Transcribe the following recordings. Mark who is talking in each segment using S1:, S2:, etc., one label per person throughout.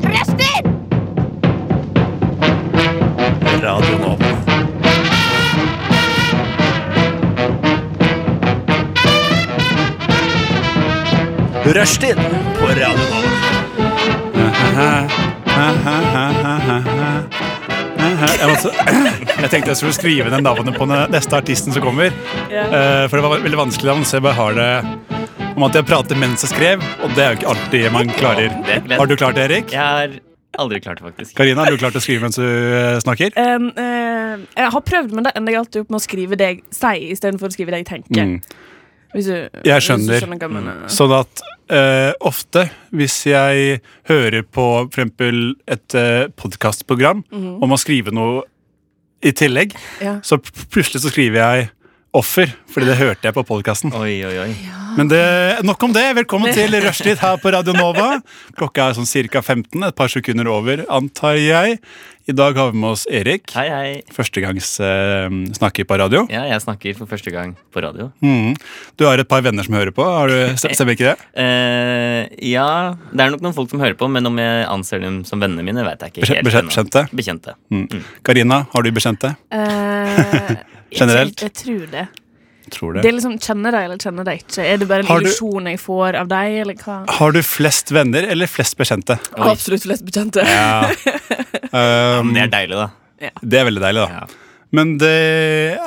S1: prester!
S2: Radio Nova. Rushtid på Radio Nova.
S3: Jeg, måtte, jeg tenkte jeg skulle skrive ned navnet på den neste artisten som kommer. Eh, For det var veldig vanskelig navn, så jeg bare har det om at jeg prater mens jeg skrev. Og det er jo ikke alltid man klarer.
S4: det er lett.
S3: Har du klart det, Erik?
S4: Jeg har aldri klart det, faktisk.
S3: Karina, har du klart å skrive mens du eh, snakker?
S5: Um, eh, jeg har prøvd, men det ender jeg alltid opp med å skrive det jeg sier, istedenfor å skrive det jeg tenker.
S3: Mm.
S5: Hvis du,
S3: Jeg
S5: Hvis
S3: skjønner.
S5: du skjønner hva jeg mener.
S3: Sånn at eh, ofte hvis jeg hører på for eksempel et eh, podkastprogram og må skrive noe i tillegg,
S5: Ja.
S3: så pl- plutselig så skriver jeg Offer, fordi det hørte jeg på podkasten.
S4: Oi, oi, oi.
S3: Men det, nok om det. Velkommen til Rushtid her på Radio Nova. Klokka er sånn ca. 15, et par sekunder over, antar jeg. I dag har vi med oss Erik.
S4: Hei, hei.
S3: Førstegangs eh, snakker på radio.
S4: Ja, jeg snakker for første gang på radio.
S3: Mhm. Du har et par venner som hører på, har du, stemmer ikke det?
S4: Eh, ja, det er nok noen folk som hører på, men om jeg anser dem som vennene mine, vet jeg ikke.
S3: Bekjent-
S4: helt
S3: bekjent-
S4: ennå.
S3: bekjente?
S4: Bekjente.
S3: Karina, har du bekjente?
S5: Eh, jeg tror-
S3: Generelt?
S5: Jeg tror det.
S3: Tror
S5: Det er liksom Kjenner deg eller kjenner deg ikke? Er det bare en
S3: Har du-
S5: illusjon jeg får av deg, eller hva?
S3: Har du flest venner eller flest bekjente?
S4: Oi.
S5: Absolutt flest bekjente.
S3: Um,
S4: Men det er deilig, da.
S3: det er veldig deilig, da.
S4: Ja.
S3: Men det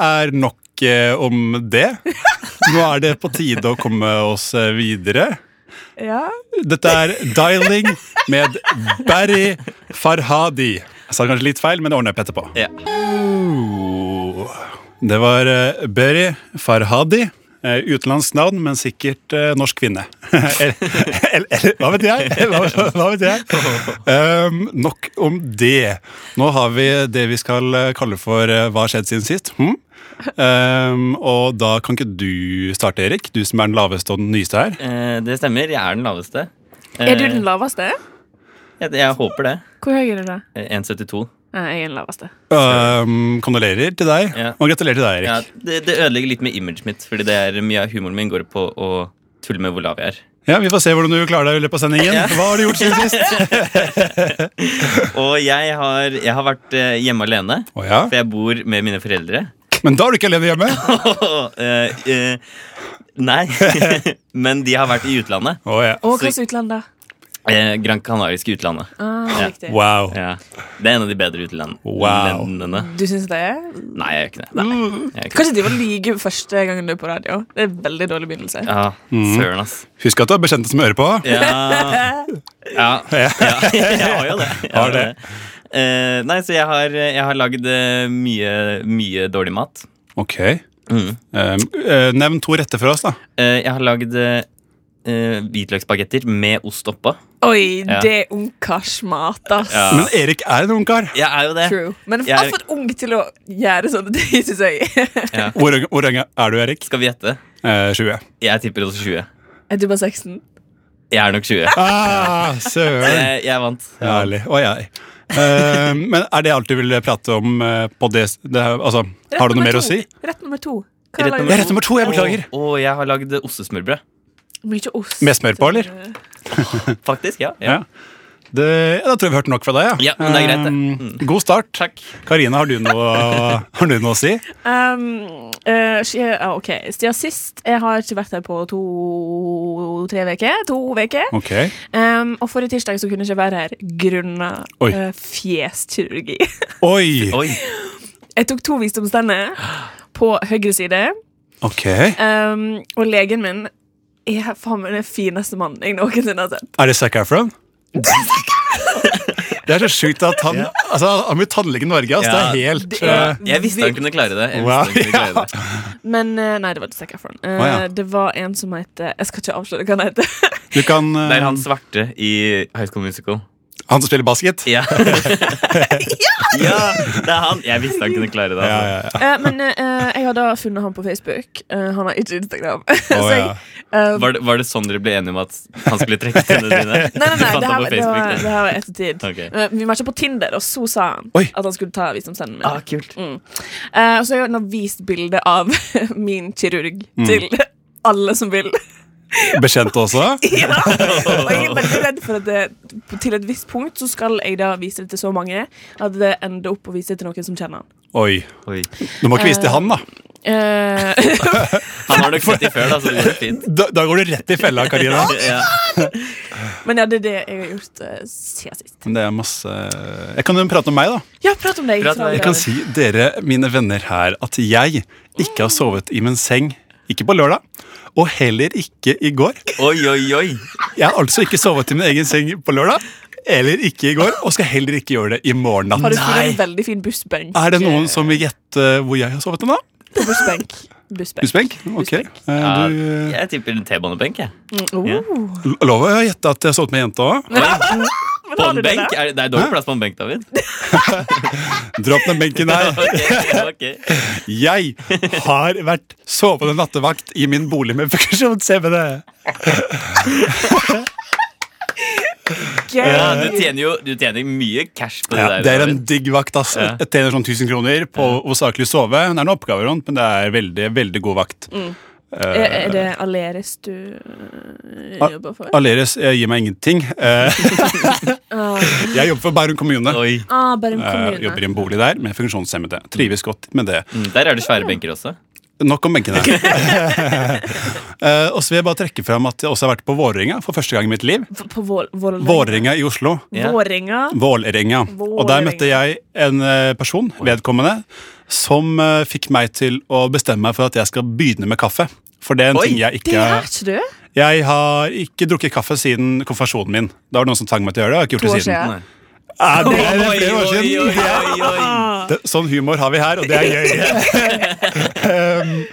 S3: er nok eh, om det. Nå er det på tide å komme oss eh, videre.
S5: Ja.
S3: Dette er 'Dialing' med Barry Farhadi. Jeg sa kanskje litt feil, men det ordner jeg opp etterpå.
S4: Ja.
S3: Oh. Det var eh, Berry Farhadi. Eh, Utenlandsk navn, men sikkert eh, norsk kvinne. eller, eller, eller hva vet jeg? Hva, hva vet jeg? Um, nok om det. Nå har vi det vi skal eh, kalle for eh, Hva har skjedd siden sist? Hm? Um, og da kan ikke du starte, Erik. Du som er den laveste og den nyeste her.
S4: Eh, det stemmer, jeg er den laveste. Eh,
S5: Er du den laveste?
S4: Jeg, jeg håper det.
S5: Hvor høy er du da?
S4: Eh, 1,72.
S5: Nei, jeg er den laveste.
S3: Um, kondolerer til deg,
S4: Ja.
S3: og gratulerer til deg,
S4: Ja,
S3: Erik.
S4: det, det ødelegger litt med imaget mitt, fordi det er mye av humoren min går på å tulle med hvor lav jeg er.
S3: Ja, Vi får se hvordan du klarer deg i løpet av sendingen. Hva har du gjort siden sist?
S4: Og jeg har, jeg har vært eh, hjemme alene,
S3: Å ja.
S4: for jeg bor med mine foreldre.
S3: Men da er du ikke alene hjemme.
S4: Eh, eh, nei, men de har vært i utlandet.
S3: Å ja.
S5: Og
S4: Så-
S5: hvilket utland, da?
S4: Eh, Gran Canarisk utlandet.
S5: Ah,
S4: Ja.
S5: riktig.
S3: Wow.
S4: Ja. Det er en av de bedre utlandene.
S3: Wow. Mm.
S5: Du syns det er?
S4: Nei, jeg gjør ikke det. Nei, jeg gjør ikke det.
S5: Kanskje de var like første gangen du er på radio. Det er en veldig dårlig begynnelse.
S4: Ja,
S3: Mm.
S4: søren, ass.
S3: Husk at du har bekjente som hører på.
S4: Ja. Ja. ja. Jeg har jo det. Jeg
S3: Har det.
S4: Eh, nei, så jeg har, jeg har lagd eh, mye, mye dårlig mat.
S3: Ok.
S4: Mm.
S3: Um, eh, nevn to retter for oss, da.
S4: Eh, jeg har lagd eh, hvitløksbagetter med ost oppå.
S5: Oi,
S4: Ja.
S5: det er ungkarsmat, ass.
S4: Ja.
S3: Men Erik er en ungkar.
S4: Jeg er jo det.
S5: True. Men
S4: Jeg-
S5: jeg er for ung til å gjøre sånne ting, syns jeg.
S3: Hvor, hvor ung er du, Erik?
S4: Skal vi gjette?
S3: Eh, 20.
S4: Jeg tipper også 20.
S5: Er du bare 16?
S4: Jeg er nok 20.
S3: Ah, søren.
S4: Eh, Jeg, jeg vant.
S3: Herlig. Og jeg. Eh, men er det alt du vil prate om eh, på det, det her- Altså, har du noe
S5: nummer
S3: mer å
S5: to.
S3: si?
S5: Rett nummer to.
S4: Rett
S5: lager du?
S4: nummer
S3: Ja, rett nummer to. Jeg beklager.
S4: Og, og jeg har lagd ostesmørbrød.
S5: Mye ost.
S3: Med smør på, eller?
S4: Faktisk, ja.
S3: Ja. Det, ja, da tror jeg vi har hørt nok fra deg.
S4: Ja, men det er greit, det. Mm.
S3: Um, god start.
S4: Takk.
S3: Karina, har du noe, har du noe å si?
S5: Um, eh, sk- ja, OK. Siden sist Jeg har ikke vært her på to-tre uker. To uker.
S3: Ok.
S5: Um, og forrige tirsdag så kunne jeg ikke være her grunnet
S3: Oi.
S5: eh, fjeskirurgi.
S3: Oi!
S4: Oi.
S5: Jeg tok to visdomstenner på høyre side,
S3: Ok. Er
S5: um, og legen min er faen meg den fineste mannen jeg noensinne har sett.
S3: det Zac Efron? Det er så sjukt at han altså, Han blir tannlege i Norge. Altså,
S4: Ja,
S3: det er helt
S5: det er-
S3: eh,
S4: Jeg visste han kunne klare det. Jeg visste
S3: Wow.
S4: han kunne klare det.
S5: Men eh, nei, det var ikke Zac Efron. Eh,
S3: Å, ja.
S5: Det var en som het Jeg skal ikke avsløre hva han heter.
S3: Du kan eh,
S4: Det er
S3: han.
S4: han svarte i High School Musical.
S3: som spiller basket?
S4: Ja. ja, det er han. Jeg visste han kunne klare det.
S3: Ja,
S4: Altså.
S3: ja, ja.
S5: Eh, men eh, eh, jeg har da funnet han på Facebook. Eh, han har ikke Instagram.
S3: Å,
S5: Så jeg,
S3: ja.
S5: eh,
S4: Var, det, var det sånn dere ble enige om at han skulle trekke tennene dine?
S5: Nei, nei, nei,
S4: Du fant
S5: det her, var-
S4: ham på
S5: det
S4: Facebook,
S5: var,
S4: det.
S5: det her var ettertid.
S4: Ok.
S5: Eh, vi matcha på Tinder, og så sa han
S3: Oi.
S5: at han skulle ta visdomstennen min.
S4: Ah, kult.
S5: Eh,
S4: Mm.
S5: og så har jeg nå vist bilde av min kirurg til alle som vil.
S3: Bekjente også.
S5: Ja, og jeg er veldig redd for at det, til et visst punkt så skal jeg da vise det til så mange at det ender opp å vise det til noen som kjenner han.
S3: Oi.
S4: Oi.
S3: Du må ikke vise til han, da.
S5: Eh,
S4: Han har nok sett de før, da, så det går fint.
S3: Da, da går du rett i fella, Karina.
S4: Ja.
S5: men ja, det er det jeg har gjort eh, siden sist.
S3: Det er masse Jeg kan jo prate om meg, da.
S5: Ja, prat om deg.
S4: Prat om deg.
S3: Jeg kan si dere, mine venner her, at jeg ikke har sovet i min seng. Ikke på lørdag, og heller ikke i går.
S4: Oi, oi, oi.
S3: Jeg har altså ikke sovet i min egen seng på lørdag, eller ikke i går, og skal heller ikke gjøre det i morgen
S5: Har du
S3: natt.
S5: funnet en
S4: Nei.
S5: veldig fin bussbenk?
S3: Er det noen som vil gjette hvor jeg har sovet den, da?
S5: På bussbenk. Bussbenk.
S3: Husbenk? Ok. Eh,
S4: Ja,
S3: Du
S4: jeg tipper T-banebenk, jeg.
S5: Oh.
S4: Ja.
S3: L- Lov å gjette at jeg har sovet med jente òg.
S5: Men
S4: På
S5: har
S4: en
S5: du det
S4: benk?
S5: der?
S4: Er det, det er dårlig plass på en benk, David.
S3: Dropp den benken der.
S4: Ok, ok.
S3: Jeg har vært sovende nattevakt i min bolig med funksjonshemmede.
S4: Ja,
S5: Gøy.
S4: du tjener jo du tjener mye cash på det
S3: Ja,
S4: der.
S3: det er en
S4: David.
S3: digg vakt. ass.
S4: Ja.
S3: Jeg tjener sånn 1000 kroner på hovedsakelig sove. Det er noen oppgaver rundt, men det er veldig, veldig god vakt.
S5: Mm. Er, er det Aleris du eh,
S3: Ah,
S5: jobber for?
S3: Aleris eh, gir meg ingenting. Eh, jeg jobber for Bærum kommune.
S4: Oi.
S5: Ah, Bærum
S3: Eh,
S5: kommune.
S3: jobber i en bolig der med funksjonshemmede. Trives godt med det.
S4: Mm, Der er det svære benker også.
S3: Nok om benkene. Eh, og så vil jeg bare trekke fram at jeg også har vært på Vålerenga for første gang i mitt liv.
S5: F- På Vål- Vålerenga.
S3: Vålerenga i Oslo.
S4: Ja.
S5: Vålerenga.
S3: Vålerenga. Og der møtte jeg en eh, person, vedkommende, som eh, fikk meg til å bestemme meg for at jeg skal begynne med kaffe. For det er en
S4: Oi,
S3: ting jeg
S5: Det
S3: ikke
S5: er ikke du?
S3: Jeg har ikke drukket kaffe siden konfirmasjonen min. Da var det noen som tvang meg til å gjøre det. og Jeg har ikke
S5: To
S3: gjort det
S5: år
S3: siden.
S5: siden.
S4: Nei.
S3: Ja, det er det er flere år
S4: Oi, oi,
S3: siden. Det er-
S4: oi, oi, oi.
S3: Det, sånn humor har vi her, og det er gøy. um,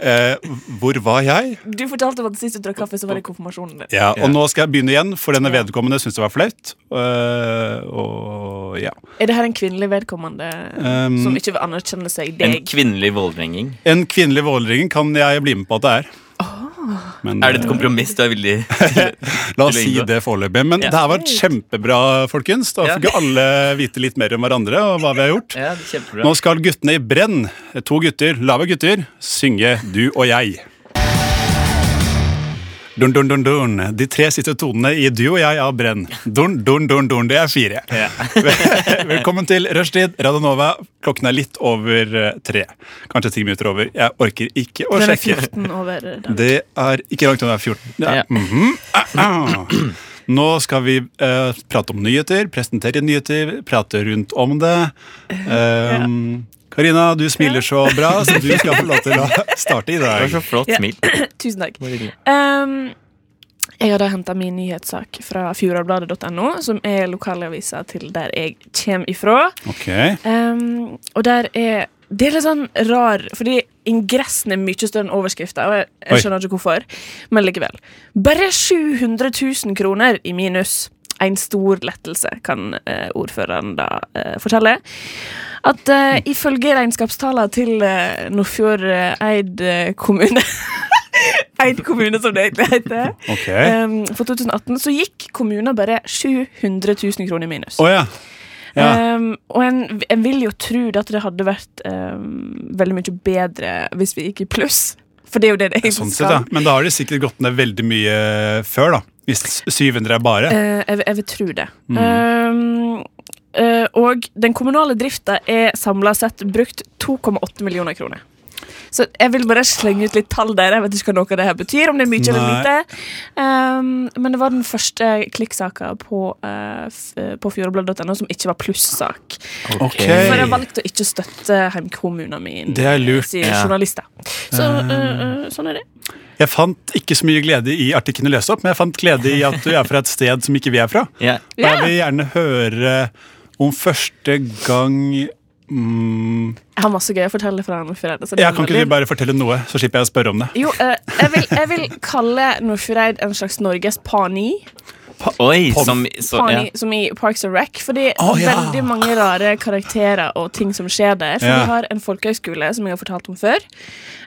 S3: eh, hvor var jeg?
S5: Du fortalte om at sist du drakk kaffe, så var det konfirmasjonen din.
S3: Ja, og
S4: Ja.
S3: nå skal jeg begynne igjen, for denne vedkommende syntes det var flaut. Eh, og ja.
S5: Er det her en kvinnelig vedkommende
S3: Um,
S5: som ikke vil anerkjenne seg
S4: En
S5: deg?
S4: kvinnelig vålerengging.
S3: En kvinnelig vålerengen kan jeg bli med på at det er. Men,
S4: Er det et
S3: eh,
S4: kompromiss du er villig
S3: La oss
S4: til å
S3: si
S4: inngå?
S3: det foreløpig. Men
S4: Ja.
S3: det her var kjempebra, folkens. Da
S4: Ja.
S3: fikk jo alle vite litt mer om hverandre og hva vi har gjort.
S4: Ja, det er kjempebra.
S3: Nå skal guttene i Brenn, to gutter, lave gutter, synge Du og jeg. Dun, dun, dun, dun. De tre siste tonene i Du og jeg av Brenn. Dun, dun, dun, dun. Det er fire. Velkommen til rushtid, Radionova. Klokken er litt over eh, tre. Kanskje ti minutter over. Jeg orker ikke å
S5: Den er
S3: sjekke.
S5: 14 over den.
S3: Det er ikke langt unna 14.
S4: Ja.
S3: Mhm. Ah, ah. Nå skal vi eh, prate om nyheter, presentere nyheter, prate rundt om det. Ehm, Karina, du smiler så bra, så du skal få lov til å starte i
S4: Det var så
S3: dag.
S4: flott
S5: Ja.
S4: smil.
S5: Tusen takk. Um, jeg har da henta min nyhetssak fra fjordabladet.no, som er lokalavisa til der jeg kommer ifra.
S3: Ok,
S5: Um, og der er Det er litt sånn rar Fordi ingressen er mye større enn overskrifta, og jeg,
S3: Oi.
S5: jeg skjønner ikke hvorfor. Men likevel. Bare 700 000 kroner i minus. En stor lettelse, kan eh, ordføreren da eh, fortelle. At
S3: Mm.
S5: eh, ifølge regnskapstallene til eh, Nordfjord eh, Eid eh, kommune Eid kommune, som det egentlig heter.
S3: ok.
S5: Um, for 2018 så gikk kommunen bare 700 000 kroner i minus.
S3: Å ja.
S4: Eh,
S3: ja.
S5: Um, og en, en vil jo tro det at det hadde vært um, veldig mye bedre hvis vi gikk i pluss. For det er jo det det egentlig
S3: Sånn sett,
S5: skal.
S3: ja. Men da har de sikkert gått ned veldig mye før, da. Hvis 700 er bare.
S5: Eh, jeg, vil- jeg vil tro det.
S3: Mm.
S5: Um, eh, og den kommunale drifta er samla sett brukt 2,8 millioner kroner. Så jeg vil bare slenge ut litt tall der. Jeg vet ikke hva noe av det her betyr. om det er mye eller
S3: Nei.
S5: lite. Um, men det var den første klikksaka på, eh, f- på fjordblad.no som ikke var plussak.
S3: Ok.
S5: For jeg har valgt å ikke støtte heimkommunen min, eh,
S3: Det er lurt. Eh.
S5: sier
S4: Ja.
S5: journalister. Så øh, øh, sånn er det.
S3: Jeg fant ikke så mye glede i artikkelen å lese opp, men jeg fant glede i at du er fra et sted som ikke vi er fra.
S4: Ja.
S3: Og
S5: Ja.
S3: jeg vil gjerne høre om første gang mm,
S5: Jeg har masse gøy å fortelle fra Nordfjordeid. så det
S3: ja,
S5: er
S3: Kan ikke
S5: veldig-
S3: du bare fortelle noe, så slipper jeg å spørre om det?
S5: Jo, øh, jeg, vil, jeg vil kalle Nordfjordeid en slags Norges Pani,
S4: Oi,
S3: Pom-
S4: som så, ja.
S5: Pani som i Parks and Rec. Fordi
S3: Å, ja.
S5: veldig mange rare karakterer og ting som skjer der. For
S3: Ja.
S5: vi har en folkehøgskole som jeg har fortalt om før,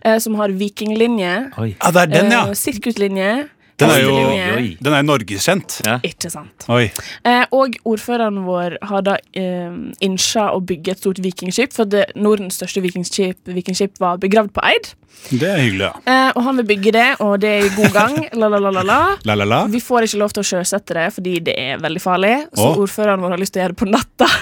S5: eh, som har vikinglinje,
S4: Oi.
S3: Ja, det er den, ja!
S5: eh, sirkuslinje,
S3: Den er jo
S5: Oi, oi,
S4: oi.
S3: den er jo norgeskjent.
S4: Ja.
S5: Ikke sant.
S3: Oi.
S5: Eh, og ordføreren vår har da eh, innsja å bygge et stort vikingskip, for det Nordens største vikingskip, vikingskip var begravd på Eid.
S3: Det er hyggelig, ja.
S5: Eh, og han vil bygge det, og det er i god gang. La, la, la, la, la.
S3: La, la, la.
S5: Vi får ikke lov til å sjøsette det fordi det er veldig farlig. Så
S3: Å.
S5: ordføreren vår har lyst til å gjøre det på natta.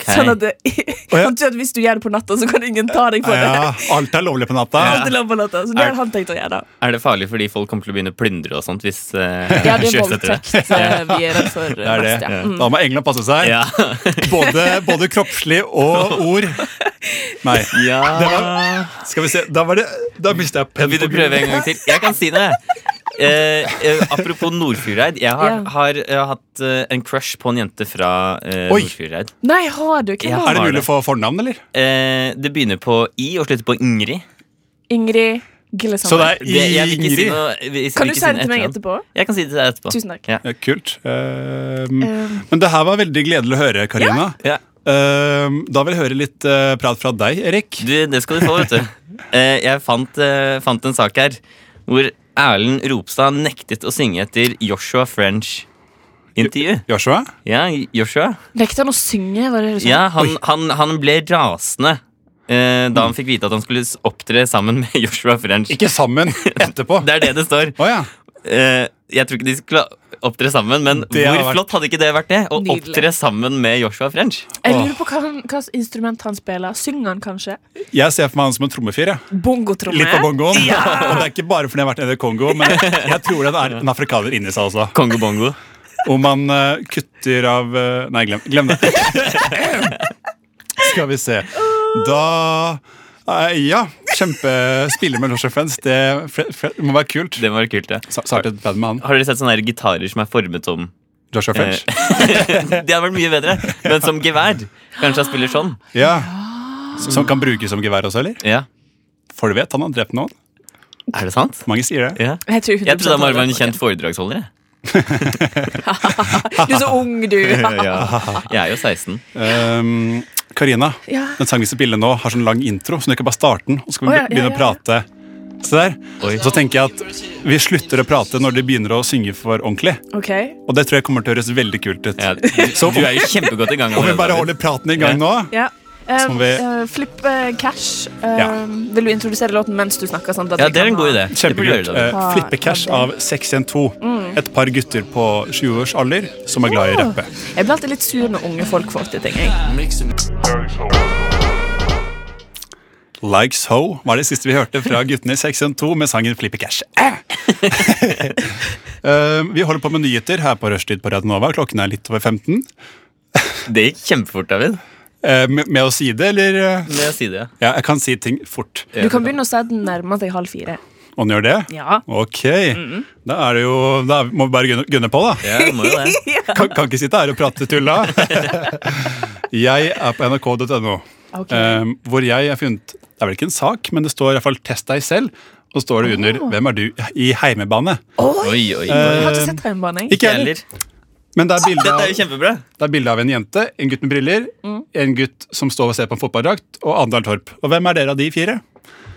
S5: Sånn at, det,
S3: ja.
S5: han tror at hvis du gjør det på natta, så kan ingen ta deg for det.
S3: Ja, alt er lovlig på natta.
S5: Alt er lov på natta, Så det har han tenkt å gjøre.
S4: Er det farlig fordi folk kommer til å begynne å plyndre og sånt hvis eh,
S5: Ja, det er
S4: sjøsetter det?
S5: voldtekt eh, vi er redd for.
S3: Det er det.
S5: mest, ja.
S3: Da må England passe seg.
S4: Ja.
S3: Både, både kroppslig og ord. Nei.
S4: ja.
S3: Det var- Skal vi se, da var det Da mistet jeg pennen.
S4: Vil du
S3: på
S4: prøve en
S3: gulvet.
S4: gang til? Jeg kan si det. Eh, eh, apropos Nordfjordeid. Jeg har,
S5: Ja.
S4: har, eh, hatt eh, en crush på en jente fra eh,
S3: Oi.
S4: Nordfjordeid.
S5: Nei, har du? Hvem
S4: Ja.
S5: var
S3: Er
S5: det?
S3: det mulig å få fornavn, eller?
S4: Eh, det begynner på I og slutter på Ingrid.
S5: Ingrid
S3: Så det
S5: Gillesand.
S3: er
S4: Det, jeg vil ikke si
S3: Ingrid.
S4: noe, jeg vil
S5: Kan du
S4: ikke
S5: si det
S4: noe
S5: til meg
S4: etternavn.
S5: etterpå?
S4: Jeg kan si det til deg etterpå.
S5: Tusen takk.
S4: Ja.
S3: Ja, kult. Ehm,
S5: Eh,
S3: men det her var veldig gledelig å høre, Karina.
S4: Ja.
S3: Ehm, da vil jeg høre litt eh, prat fra deg, Erik.
S4: Du, det skal du få, vet du. Eh, jeg fant, eh, fant en sak her hvor Erlend Ropstad nektet å synge etter Joshua French. Intervju.
S3: Joshua?
S4: Ja, Joshua.
S5: Nekter han å synge? Var det liksom- du
S3: sånn?
S5: sa?
S4: Ja, han, han, han ble rasende eh, da han fikk vite at han skulle s- opptre sammen med Joshua French.
S3: Mm. Ikke sammen etterpå.
S4: Det er det det står.
S3: Å ja.
S4: Eh, jeg tror ikke de skulle opptre sammen, men
S3: Det
S4: hvor
S3: hadde vært-
S4: flott hadde ikke det vært det? Å
S5: Nydelig.
S4: opptre sammen med Joshua French.
S5: Jeg lurer på hva, han, hva instrument han spiller. Synger han kanskje?
S3: Jeg ser for meg han som en trommefyr. Ja.
S5: Bongotromme?
S3: Litt på bongoen. Og det er ikke bare fordi han har vært nede i Kongo, men jeg tror det er en afrikaner inni seg også.
S4: Kongo Bongo.
S3: Om man eh, kutter av eh, Nei, glem, glem det. Skal vi se. Da eh, Ja, kjempespiller med Losh Friends. Det fre- fre- må være kult.
S4: Det var kult, det.
S3: Sa- Startet bad med han.
S4: Har dere sett sånne her gitarer som er formet som
S3: Joshua
S4: Eh,
S3: French.
S4: Det hadde vært mye bedre, men som gevær. Kanskje han spiller sånn.
S3: Ja. Som kan brukes som gevær også, eller?
S4: Ja,
S3: For du vet, han har drept noen.
S4: Er det sant?
S3: Mange sier det.
S4: Ja.
S5: Jeg tror,
S4: Jeg trodde han bare var en
S5: 100%
S4: kjent foredragsholder. jeg.
S5: Du er så ung, du.
S4: Jeg er jo 16.
S3: Ehm, Karina,
S5: Ja.
S3: den sangen vi skal spille nå, har sånn lang intro, så du kan bare starte den. Og så kan
S5: Å,
S3: vi
S5: ja, ja,
S3: begynne å
S5: ja,
S3: prate. Se der.
S4: Oi.
S3: Så tenker jeg at vi slutter å prate når de begynner å synge for ordentlig.
S5: Ok.
S3: Og det tror jeg kommer til å høres veldig kult ut.
S4: Ja, du du er jo kjempegodt i gang
S3: Om vi bare
S4: allerede.
S3: holder praten i gang nå
S5: Ja.
S3: Som vi-
S5: Eh, eh, flip eh, Cash. Eh,
S3: Ja.
S5: Vil du introdusere låten mens du snakker? Sånn at
S4: Ja,
S5: vi
S4: det er
S5: kan
S4: en god
S5: ha-
S4: idé. Det burde
S3: Kjempekult.
S4: gjøre det.
S3: Eh, Flippecash av 612.
S5: Mm.
S3: Et par gutter på 20 års alder som er glad i å rappe.
S5: Jeg blir alltid litt sur når unge folk får til ting. Jeg.
S3: Likes Ho var det siste vi hørte fra guttene i 612 med sangen Flippecash. Eh! Eh, vi holder på med nyheter her på rushtid på Radio Nova. Klokken er litt over 15.
S4: Det gikk kjempefort, David.
S3: Eh, med, med å si det, eller? eh?
S4: Med å si det.
S3: Ja, jeg kan si ting fort.
S5: Du kan begynne å si at den nærmer seg halv fire.
S3: Og den gjør det?
S5: Ja.
S3: Ok. Da er det jo Da må vi bare gunne, gunne på, da.
S4: Ja, det må jo det.
S3: kan, kan ikke sitte her og prate tull da. jeg er på nrk.no,
S5: Ok.
S3: eh, hvor jeg har funnet Det er vel ikke en sak, men det står i hvert fall 'test deg selv'. Og så står det under 'Hvem er du?' i heimebane.
S5: Ah. Oi!
S4: Oi, oi,
S5: Jeg
S4: oi.
S5: har ikke sett Regnbane. jeg.
S3: Ikke
S4: Ehm,
S3: Eh, jeg
S4: Ikke
S3: heller.
S4: heller.
S3: Men det er bilde
S4: Dette
S3: av,
S4: er jo kjempebra.
S3: det er bilde av en jente, en gutt med briller,
S5: Mm.
S3: en gutt som står og ser på en fotballdrakt, og Andal Torp. Og hvem er dere av de fire?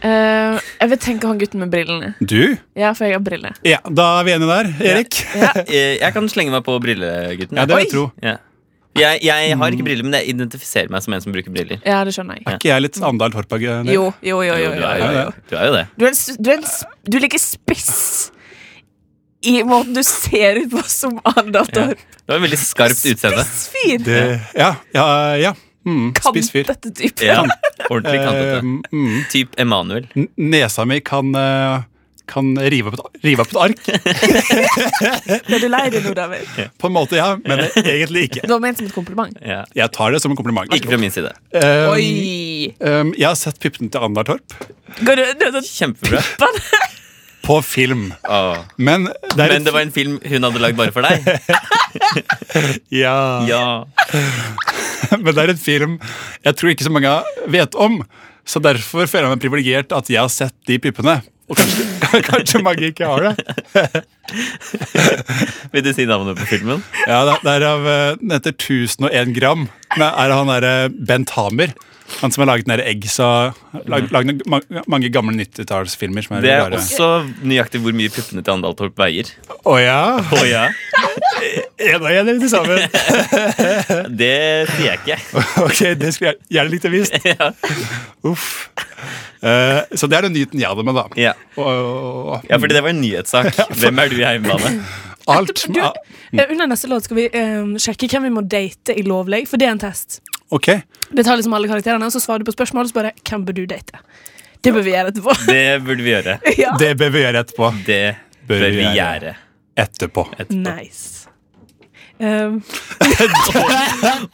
S5: Eh, jeg vil tenke han gutten med brillene.
S3: Du?
S5: Ja, for jeg har briller.
S3: Ja, Da er vi enige der, Erik.
S4: Eh, Jeg kan slenge meg på brillegutten.
S3: Ja, det vil jeg tro.
S4: Ja. Jeg, jeg har ikke briller, men jeg identifiserer meg som en som bruker briller.
S5: Ja, det skjønner jeg.
S3: Er ikke jeg litt Andal Torp? Agnes?
S5: Jo, jo, jo. jo,
S4: Jo, du
S5: jo.
S4: er jo,
S3: ja, ja.
S4: du er jo det.
S5: Du, er en, s- du, er en, s- du ligger spiss i måten du ser ut på som andator.
S4: Du har et veldig skarpt utseende.
S5: Spissfyr!
S3: Det, ja, ja, ja. Mm, spiss fyr.
S5: Kantete type.
S4: Ja, ordentlig
S3: Eh,
S4: kantete.
S3: mm.
S4: Typ Emanuel.
S3: N- nesa mi kan, eh, kan rive, opp et, rive opp et ark.
S5: Ble du lei deg nå, David?
S3: På en måte, ja, men egentlig ikke.
S5: Det var ment som et kompliment.
S4: Ja.
S3: Jeg tar det som en kompliment.
S4: Ikke fra min side.
S3: Eh,
S5: Oi!
S3: eh, jeg har sett puppene til Andar Torp
S5: Går du, du, du,
S4: Kjempebra.
S3: på film.
S4: Åh.
S3: Men det er
S4: Men det var en film hun hadde lagd bare for deg.
S3: ja,
S4: Ja.
S3: men det er en film jeg tror ikke så mange vet om. Så derfor føler jeg meg privilegert at jeg har sett de puppene. Og kanskje, kanskje mange ikke har det.
S4: Vil du si navnet på filmen?
S3: Ja, det, det er av, eh, Den heter 1001 gram. Nei, er det han derre Bent Hamer Han som har laget den der Eggs og lag, lagd ma- mange gamle 90-tallsfilmer. som Mm. er
S4: Det er
S3: rare.
S4: også nøyaktig hvor mye puppene til Andal Torp veier.
S3: Å ja!
S4: Å ja,
S3: En og en eller til sammen.
S4: Det sier jeg ikke.
S3: Ok, det skulle jeg gjerne likt å vist. Uff. Eh, så det er den nyheten jeg hadde med, da.
S4: Ja.
S3: Og, og, og,
S4: ja, fordi det var en nyhetssak. Hvem er du i hjemmebane?
S3: alt.
S5: Du, eh, under neste låt skal vi eh, sjekke hvem vi må date i Lovlig, for det er en test.
S3: Ok,
S5: Det tar liksom alle karakterene, og så svarer du på spørsmål, og så bare Hvem bør du date? Det bør vi gjøre etterpå.
S4: Det burde vi gjøre.
S5: ja.
S3: Det bør vi gjøre etterpå.
S4: Det bør vi gjøre.
S3: Etterpå.
S5: Nice. Um,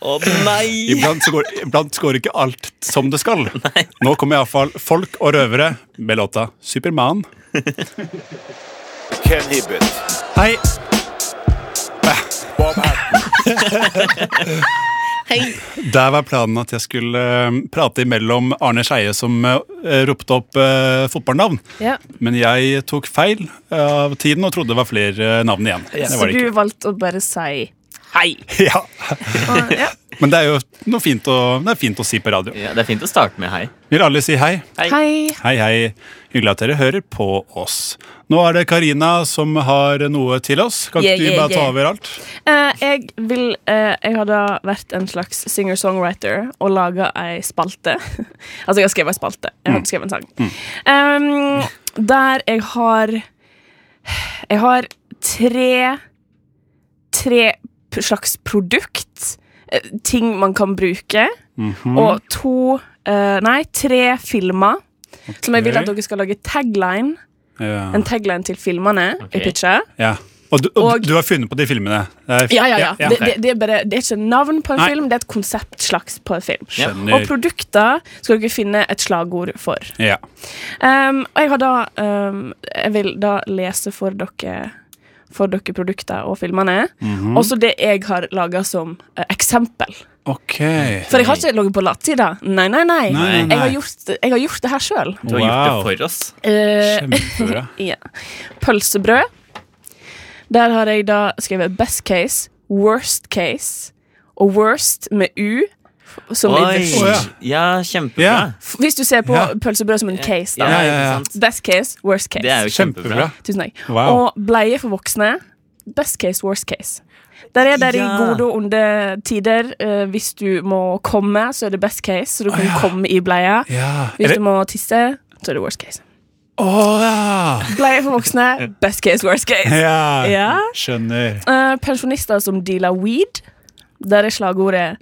S4: Å nei!
S3: Iblant, så går, iblant så går ikke alt som det skal. Nå kommer iallfall Folk og røvere med låta Superman.
S2: Ken Hibbert.
S3: Hei.
S2: Bob Hatton.
S3: Der var planen at jeg skulle eh, prate imellom Arne Skeie som eh, ropte opp eh, fotballnavn.
S5: ja.
S3: Men jeg tok feil eh, av tiden og trodde det var flere eh, navn igjen. Det
S5: Så
S3: var det
S5: du
S3: ikke.
S5: valgte å bare si hei.
S3: Ja.
S5: Og, ja.
S3: Men det er jo noe fint å, det er fint å si på radio.
S4: Ja, det er fint å starte med hei.
S3: Vil alle si hei?
S5: Hei.
S3: Hei, hei. Hyggelig at dere hører på oss. Nå er det Karina som har noe til oss. Kan
S5: Yeah,
S3: ikke du
S5: yeah,
S3: bare ta
S5: yeah.
S3: over alt?
S5: Eh, jeg vil eh, Jeg har da vært en slags singer-songwriter og laga ei spalte. altså, jeg har skrevet ei spalte. Jeg har ikke skrevet en sang. Um, der jeg har Jeg har tre Tre p- slags produkt. eh, ting man kan bruke. Og to eh, Nei, tre filmer. Som jeg vil at dere skal lage tagline
S3: Ja.
S5: En tagline til filmene.
S4: Ok.
S5: Jeg pitcher.
S3: ja. Og, du, og,
S5: Og-
S3: du har funnet på de filmene? Det er-
S5: Ja, ja, ja. Det, det, det, er bare, det er ikke navn på en
S3: Nei.
S5: film, det er et konsept slags på en film. Og
S3: Skjønner.
S5: produkter skal dere finne et slagord for.
S3: Ja.
S5: Um, og jeg har da um, Jeg vil da lese for dere for dere produkter og filmene. Også det jeg har laga som eh, eksempel.
S3: Ok.
S5: For jeg har ikke ligget på latsida. Nei, nei, nei.
S3: Nei, nei,
S5: Jeg, har
S3: nei.
S5: gjort, jeg har gjort det her sjøl.
S4: Du har gjort det
S3: Wow.
S4: for oss.
S5: Eh,
S3: Kjempebra.
S5: ja. Pølsebrød. Der har jeg da skrevet best case, worst case og worst med U. Som i the
S4: Oi!
S5: shit.
S3: ja.
S4: Ja,
S3: Ja.
S4: kjempebra.
S5: Hvis du ser på
S3: Ja.
S5: pølsebrød som en case, da.
S4: Ja,
S3: Ja, ja,
S4: ikke
S3: ja.
S4: sant?
S5: Best case, worst case.
S4: Det er jo kjempebra.
S3: Kjempebra.
S5: Tusen takk.
S3: Wow.
S5: Og bleie for voksne. Best case, worst case. Der er dere
S4: Ja.
S5: i gode og onde tider. Eh, hvis du må komme, så er det best case, så du kan komme i bleia.
S3: Ja.
S5: Hvis du
S3: Eller,
S5: må tisse, så er det worst case.
S3: å ja.
S5: Bleie for voksne, best case, worst case.
S3: ja!
S5: Ja.
S3: Skjønner.
S5: Eh, pensjonister som dealer weed. Der er slagordet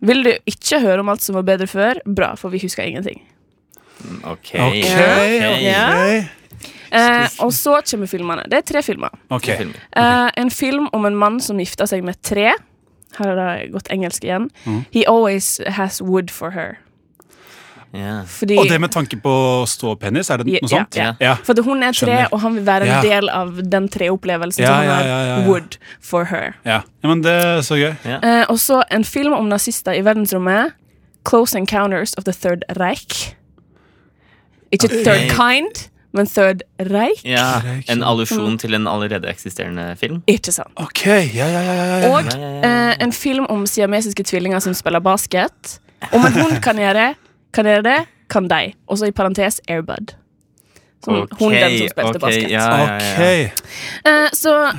S5: 'Vil du ikke høre om alt som var bedre før?' Bra, for vi husker ingenting.
S3: Ok.
S4: Ok.
S5: Ja.
S3: Ok.
S5: Eh, og så kommer filmene. Det er tre filmer.
S3: Ok.
S4: Filmer.
S5: Eh, en film om en mann som gifter seg med tre. Her har det gått engelsk igjen.
S3: Mm.
S5: He always has wood for her.
S4: Ja.
S5: Fordi
S3: Og det med tanke på ståpenis, er det
S5: Ja,
S3: noe sånt?
S5: ja.
S3: Ja.
S5: For at hun er tre,
S3: Skjønner.
S5: og han vil være en
S3: Ja.
S5: del av den treopplevelsen.
S3: Ja,
S5: så han
S3: ja,
S5: har
S3: ja, ja, ja.
S5: wood for her.
S3: Ja. ja, men det er så gøy.
S5: Eh, og så en film om nazister i verdensrommet. Close Encounters of the Third Reich. Ikke Third Kind, men Third Reich.
S4: ja. En allusjon til en allerede eksisterende film.
S5: Ikke sant.
S3: Ok, ja, ja, ja, ja, ja.
S5: Og
S4: Ja, ja,
S5: eh, en film om siamesiske tvillinger som spiller basket. Om en hund kan gjøre det, kan gjøre det, kan de. Og så i parentes Airbud. Som hun den som spilte
S4: ok,
S5: basket.
S4: Ja, ja, ja.
S3: Ok.
S5: Eh, så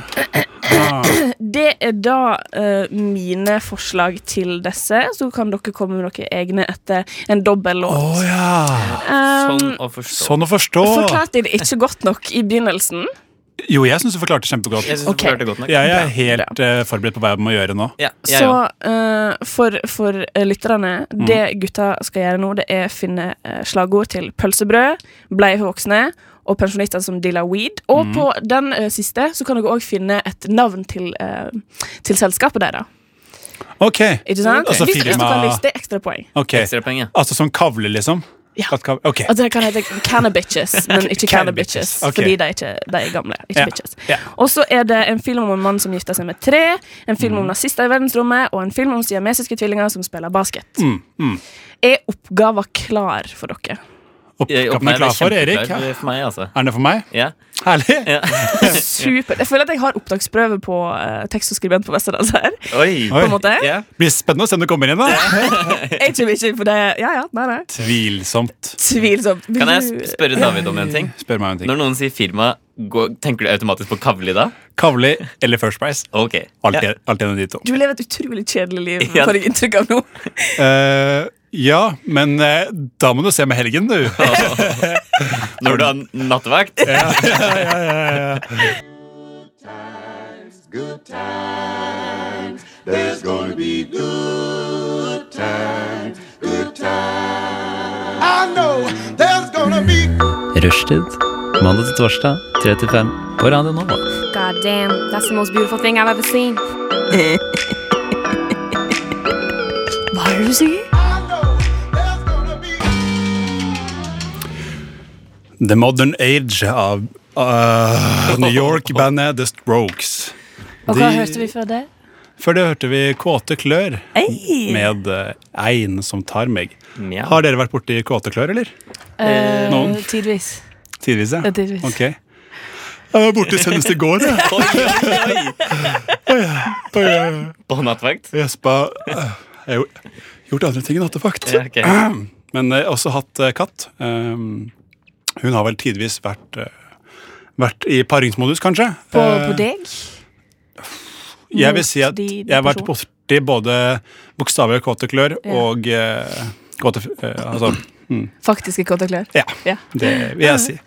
S5: det er da eh, mine forslag til disse. Så kan dere komme med dere egne etter en dobbel låt. Eh,
S3: Å ja.
S4: Sånn å forstå.
S3: Sånn å forstå.
S5: Forklarte jeg det ikke godt nok i begynnelsen?
S3: Jo, jeg syns du forklarte kjempegodt.
S4: Jeg
S3: Jeg,
S4: syns du
S5: Ok.
S4: forklarte det godt nok.
S3: er helt eh, forberedt på hva jeg må gjøre nå.
S4: Ja, Mm. jeg
S5: Så
S4: òg.
S5: eh, for, for eh, lytterne, det gutta skal gjøre nå, det er å finne eh, slagord til pølsebrød, bleie for voksne og pensjonister som dealer weed. Og
S4: Mm.
S5: på den eh, siste så kan dere òg finne et navn til, eh, til selskapet deres.
S3: Ok,
S5: Ikke sant?
S3: Ok. Altså
S5: Hvis, hvis dere
S3: firma-
S5: har lyst, det er ekstra poeng.
S3: ok
S4: Ekstrapoeng, ja.
S3: Altså som kavle, liksom?
S5: Ja.
S3: Kattkavle. Ok.
S5: Og dere Altså, kan hete Cannabitches, men ikke Cannabitches,
S3: Cannabitches, ok.
S5: fordi de er, ikke, de er gamle. ikke
S3: Ja,
S5: bitches.
S3: ja.
S5: Og så er det en film om en mann som gifter seg med tre, en film om nazister i verdensrommet, og en film om siamesiske tvillinger som spiller basket. Er oppgaven klar for dere?
S4: Altså-
S3: Oppgaven er klar for Erik.
S4: kjempeklar
S3: Er
S4: for meg, altså.
S3: den for meg?
S4: Ja.
S3: Herlig!
S4: ja.
S5: Supert. Jeg føler at jeg har opptaksprøve på eh, tekst og skribent på Westerdals her.
S4: Oi.
S5: På en måte.
S4: Ja.
S3: Blir spennende å se om du kommer inn, da.
S5: Jeg kommer ikke for det. Ja, ja, nei, nei.
S3: Tvilsomt.
S5: Tvilsomt. Vil
S4: Kan jeg
S5: du-
S4: sp- spørre David om en ting?
S3: Spør meg om en ting.
S4: Når noen sier firma, går, tenker du automatisk på Kavli da?
S3: Kavli eller First Price?
S4: Ok.
S3: Alltid alltid en av de to.
S5: Du lever et utrolig kjedelig liv,
S4: Ja.
S5: får jeg inntrykk av nå.
S3: Eh, ja, men eh, da må du se med helgen, du.
S4: Når du har nattevakt?
S1: good times. There's gonna be good times, good times. I know there's gonna be
S6: Rushtid. Mandag til torsdag, 3 til 5 på Radio Nova.
S7: God damn, that's the most beautiful thing I've ever seen.
S5: Hva er det du sier?
S3: The Modern Age av eh, New York-bandet The Strokes.
S5: Og hva
S3: De-
S5: hørte vi før det?
S3: Før det hørte vi Kåte klør
S5: Ei.
S3: med eh, Ein som tar meg.
S4: Mjau.
S3: Har dere vært borti Kåte klør, eller?
S5: Eh,
S3: noen.
S5: Tidvis.
S3: Tidvis, ja.
S5: Ja, tidvis.
S3: Ok. Jeg var borte senest i går, jeg.
S4: Oi, oi, oi.
S3: Og jeg
S4: På nattevakt?
S3: Gjespa. eh, Jeg har jo- gjort andre ting enn nattevakt.
S4: Ja, ok.
S3: Men jeg har også hatt eh, katt. Um, Hun har vel tidvis vært eh, vært i paringsmodus, kanskje.
S5: På,
S3: Eh,
S5: på deg?
S3: Jeg vil si at
S5: Mot din
S3: jeg har vært
S5: person.
S3: borti både bokstavelig kåte klør
S5: Ja.
S3: og eh, kåte eh, Altså,
S5: Faktiske kåteklær.
S3: ja.
S5: Ja.
S3: Det vil jeg si.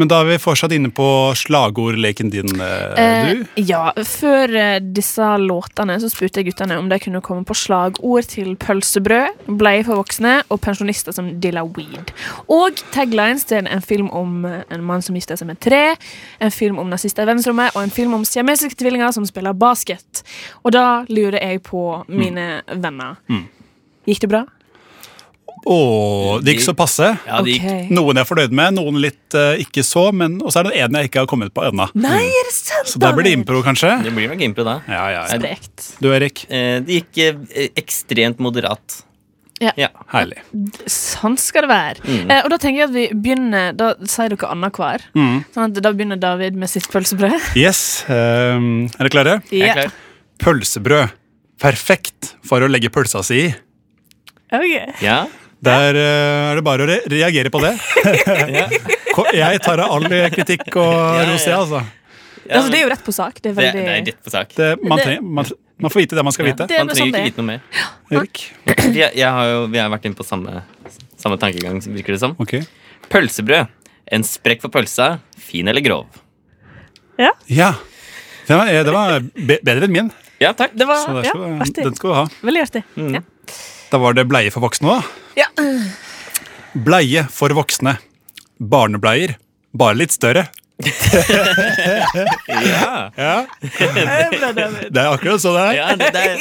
S3: Men da er vi fortsatt inne på slagordleken din, eh,
S5: Eh,
S3: du.
S5: ja, før eh, disse låtene så spurte jeg guttene om de kunne komme på slagord til pølsebrød, bleier for voksne og pensjonister som dealer weed. Og taglines til en film om eh, en mann som gifter seg med tre, en film om nazister i verdensrommet og en film om siamesiske tvillinger som spiller basket. Og da lurer jeg på
S3: Mm.
S5: mine venner. Gikk det bra?
S3: Å, det gikk så passe.
S4: Ja, det gikk
S5: Ok.
S3: Noen jeg er fornøyd med, noen litt eh, ikke så, men og så er det en jeg ikke har kommet på ennå.
S5: Nei, er det sant?
S3: Så der blir det
S5: David?
S3: impro, kanskje?
S4: Det blir nok impro da.
S3: Ja, ja, ja.
S5: Sprekt.
S3: Du, Erik.
S4: Eh, Det gikk eh, ekstremt moderat.
S5: Ja.
S4: ja.
S3: Herlig.
S5: Sånn skal det være.
S4: Mm.
S5: Eh, og da tenker jeg at vi begynner Da sier dere annenhver.
S4: Mm.
S5: Sånn at da begynner David med sitt pølsebrød.
S3: Yes, ehm, Er dere klare?
S4: Jeg er klar.
S3: Pølsebrød. Perfekt for å legge pølsa si i.
S5: Ok.
S4: Ja.
S3: Der eh, er det bare å re reagere på det.
S5: Altså,
S3: Ko- jeg tar av all kritikk og
S4: Ja,
S3: ros, jeg,
S4: ja.
S3: altså.
S4: ja
S5: altså, det er jo rett på sak. Det er
S4: det,
S5: veldig
S4: det er rett på sak.
S3: Det, man, trenger, man, man får vite det man skal
S4: Ja,
S3: vite.
S5: Det er
S4: Man
S5: noe
S4: trenger
S5: sånn
S4: ikke
S5: det er.
S4: vite noe mer.
S3: Erik?
S4: Vi, er- jeg har jo, vi har vært inne på samme, samme tankegang, virker det som.
S3: Ok.
S4: Pølsebrød. En sprekk for pølsa. Fin eller grov?
S3: Ja. Det var, eh, det var be bedre enn min.
S4: Ja, takk.
S5: Det var
S3: Så der
S5: ja,
S3: skal, du-
S5: artig.
S3: den skal du ha.
S5: Veldig artig. Ja.
S3: Da var det bleie for voksne, da.
S5: Ja.
S3: Bleie for voksne. Barnebleier, bare litt større.
S4: Ja.
S3: Det er akkurat sånn det er.
S4: Ja, det, det er,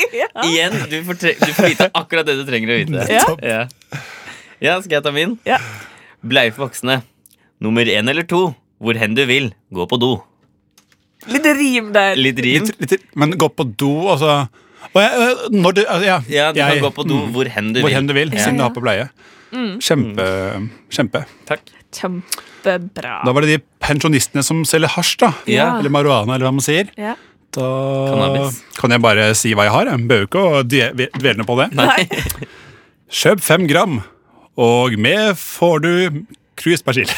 S4: Igjen, du får, tre, du får vite akkurat det du trenger å vite.
S5: Ja.
S4: Ja, ja skal jeg ta min?
S5: Ja.
S4: Bleie for voksne. Nummer én eller to. Hvor hen du vil, gå på do.
S5: Litt rim der.
S4: Litt rim.
S3: Litt, litt, men gå på do, altså. Og jeg, øh, når du, altså, ja,
S4: Ja, du
S3: jeg,
S4: kan gå på do hvor hen du
S3: hvor
S4: vil.
S3: hen du vil,
S5: Ja.
S3: siden du har på bleie. Kjempe, kjempe.
S4: Takk.
S5: Kjempebra.
S3: Da var det de pensjonistene som selger hasj, da.
S4: Ja.
S3: Eller marihuana, eller hva man sier.
S5: Ja.
S3: Da
S4: Cannabis.
S3: kan jeg bare si hva jeg har. Jeg behøver ikke å dve- dvelne på det.
S4: Nei.
S3: Kjøp fem gram, og med får du cruisepersille.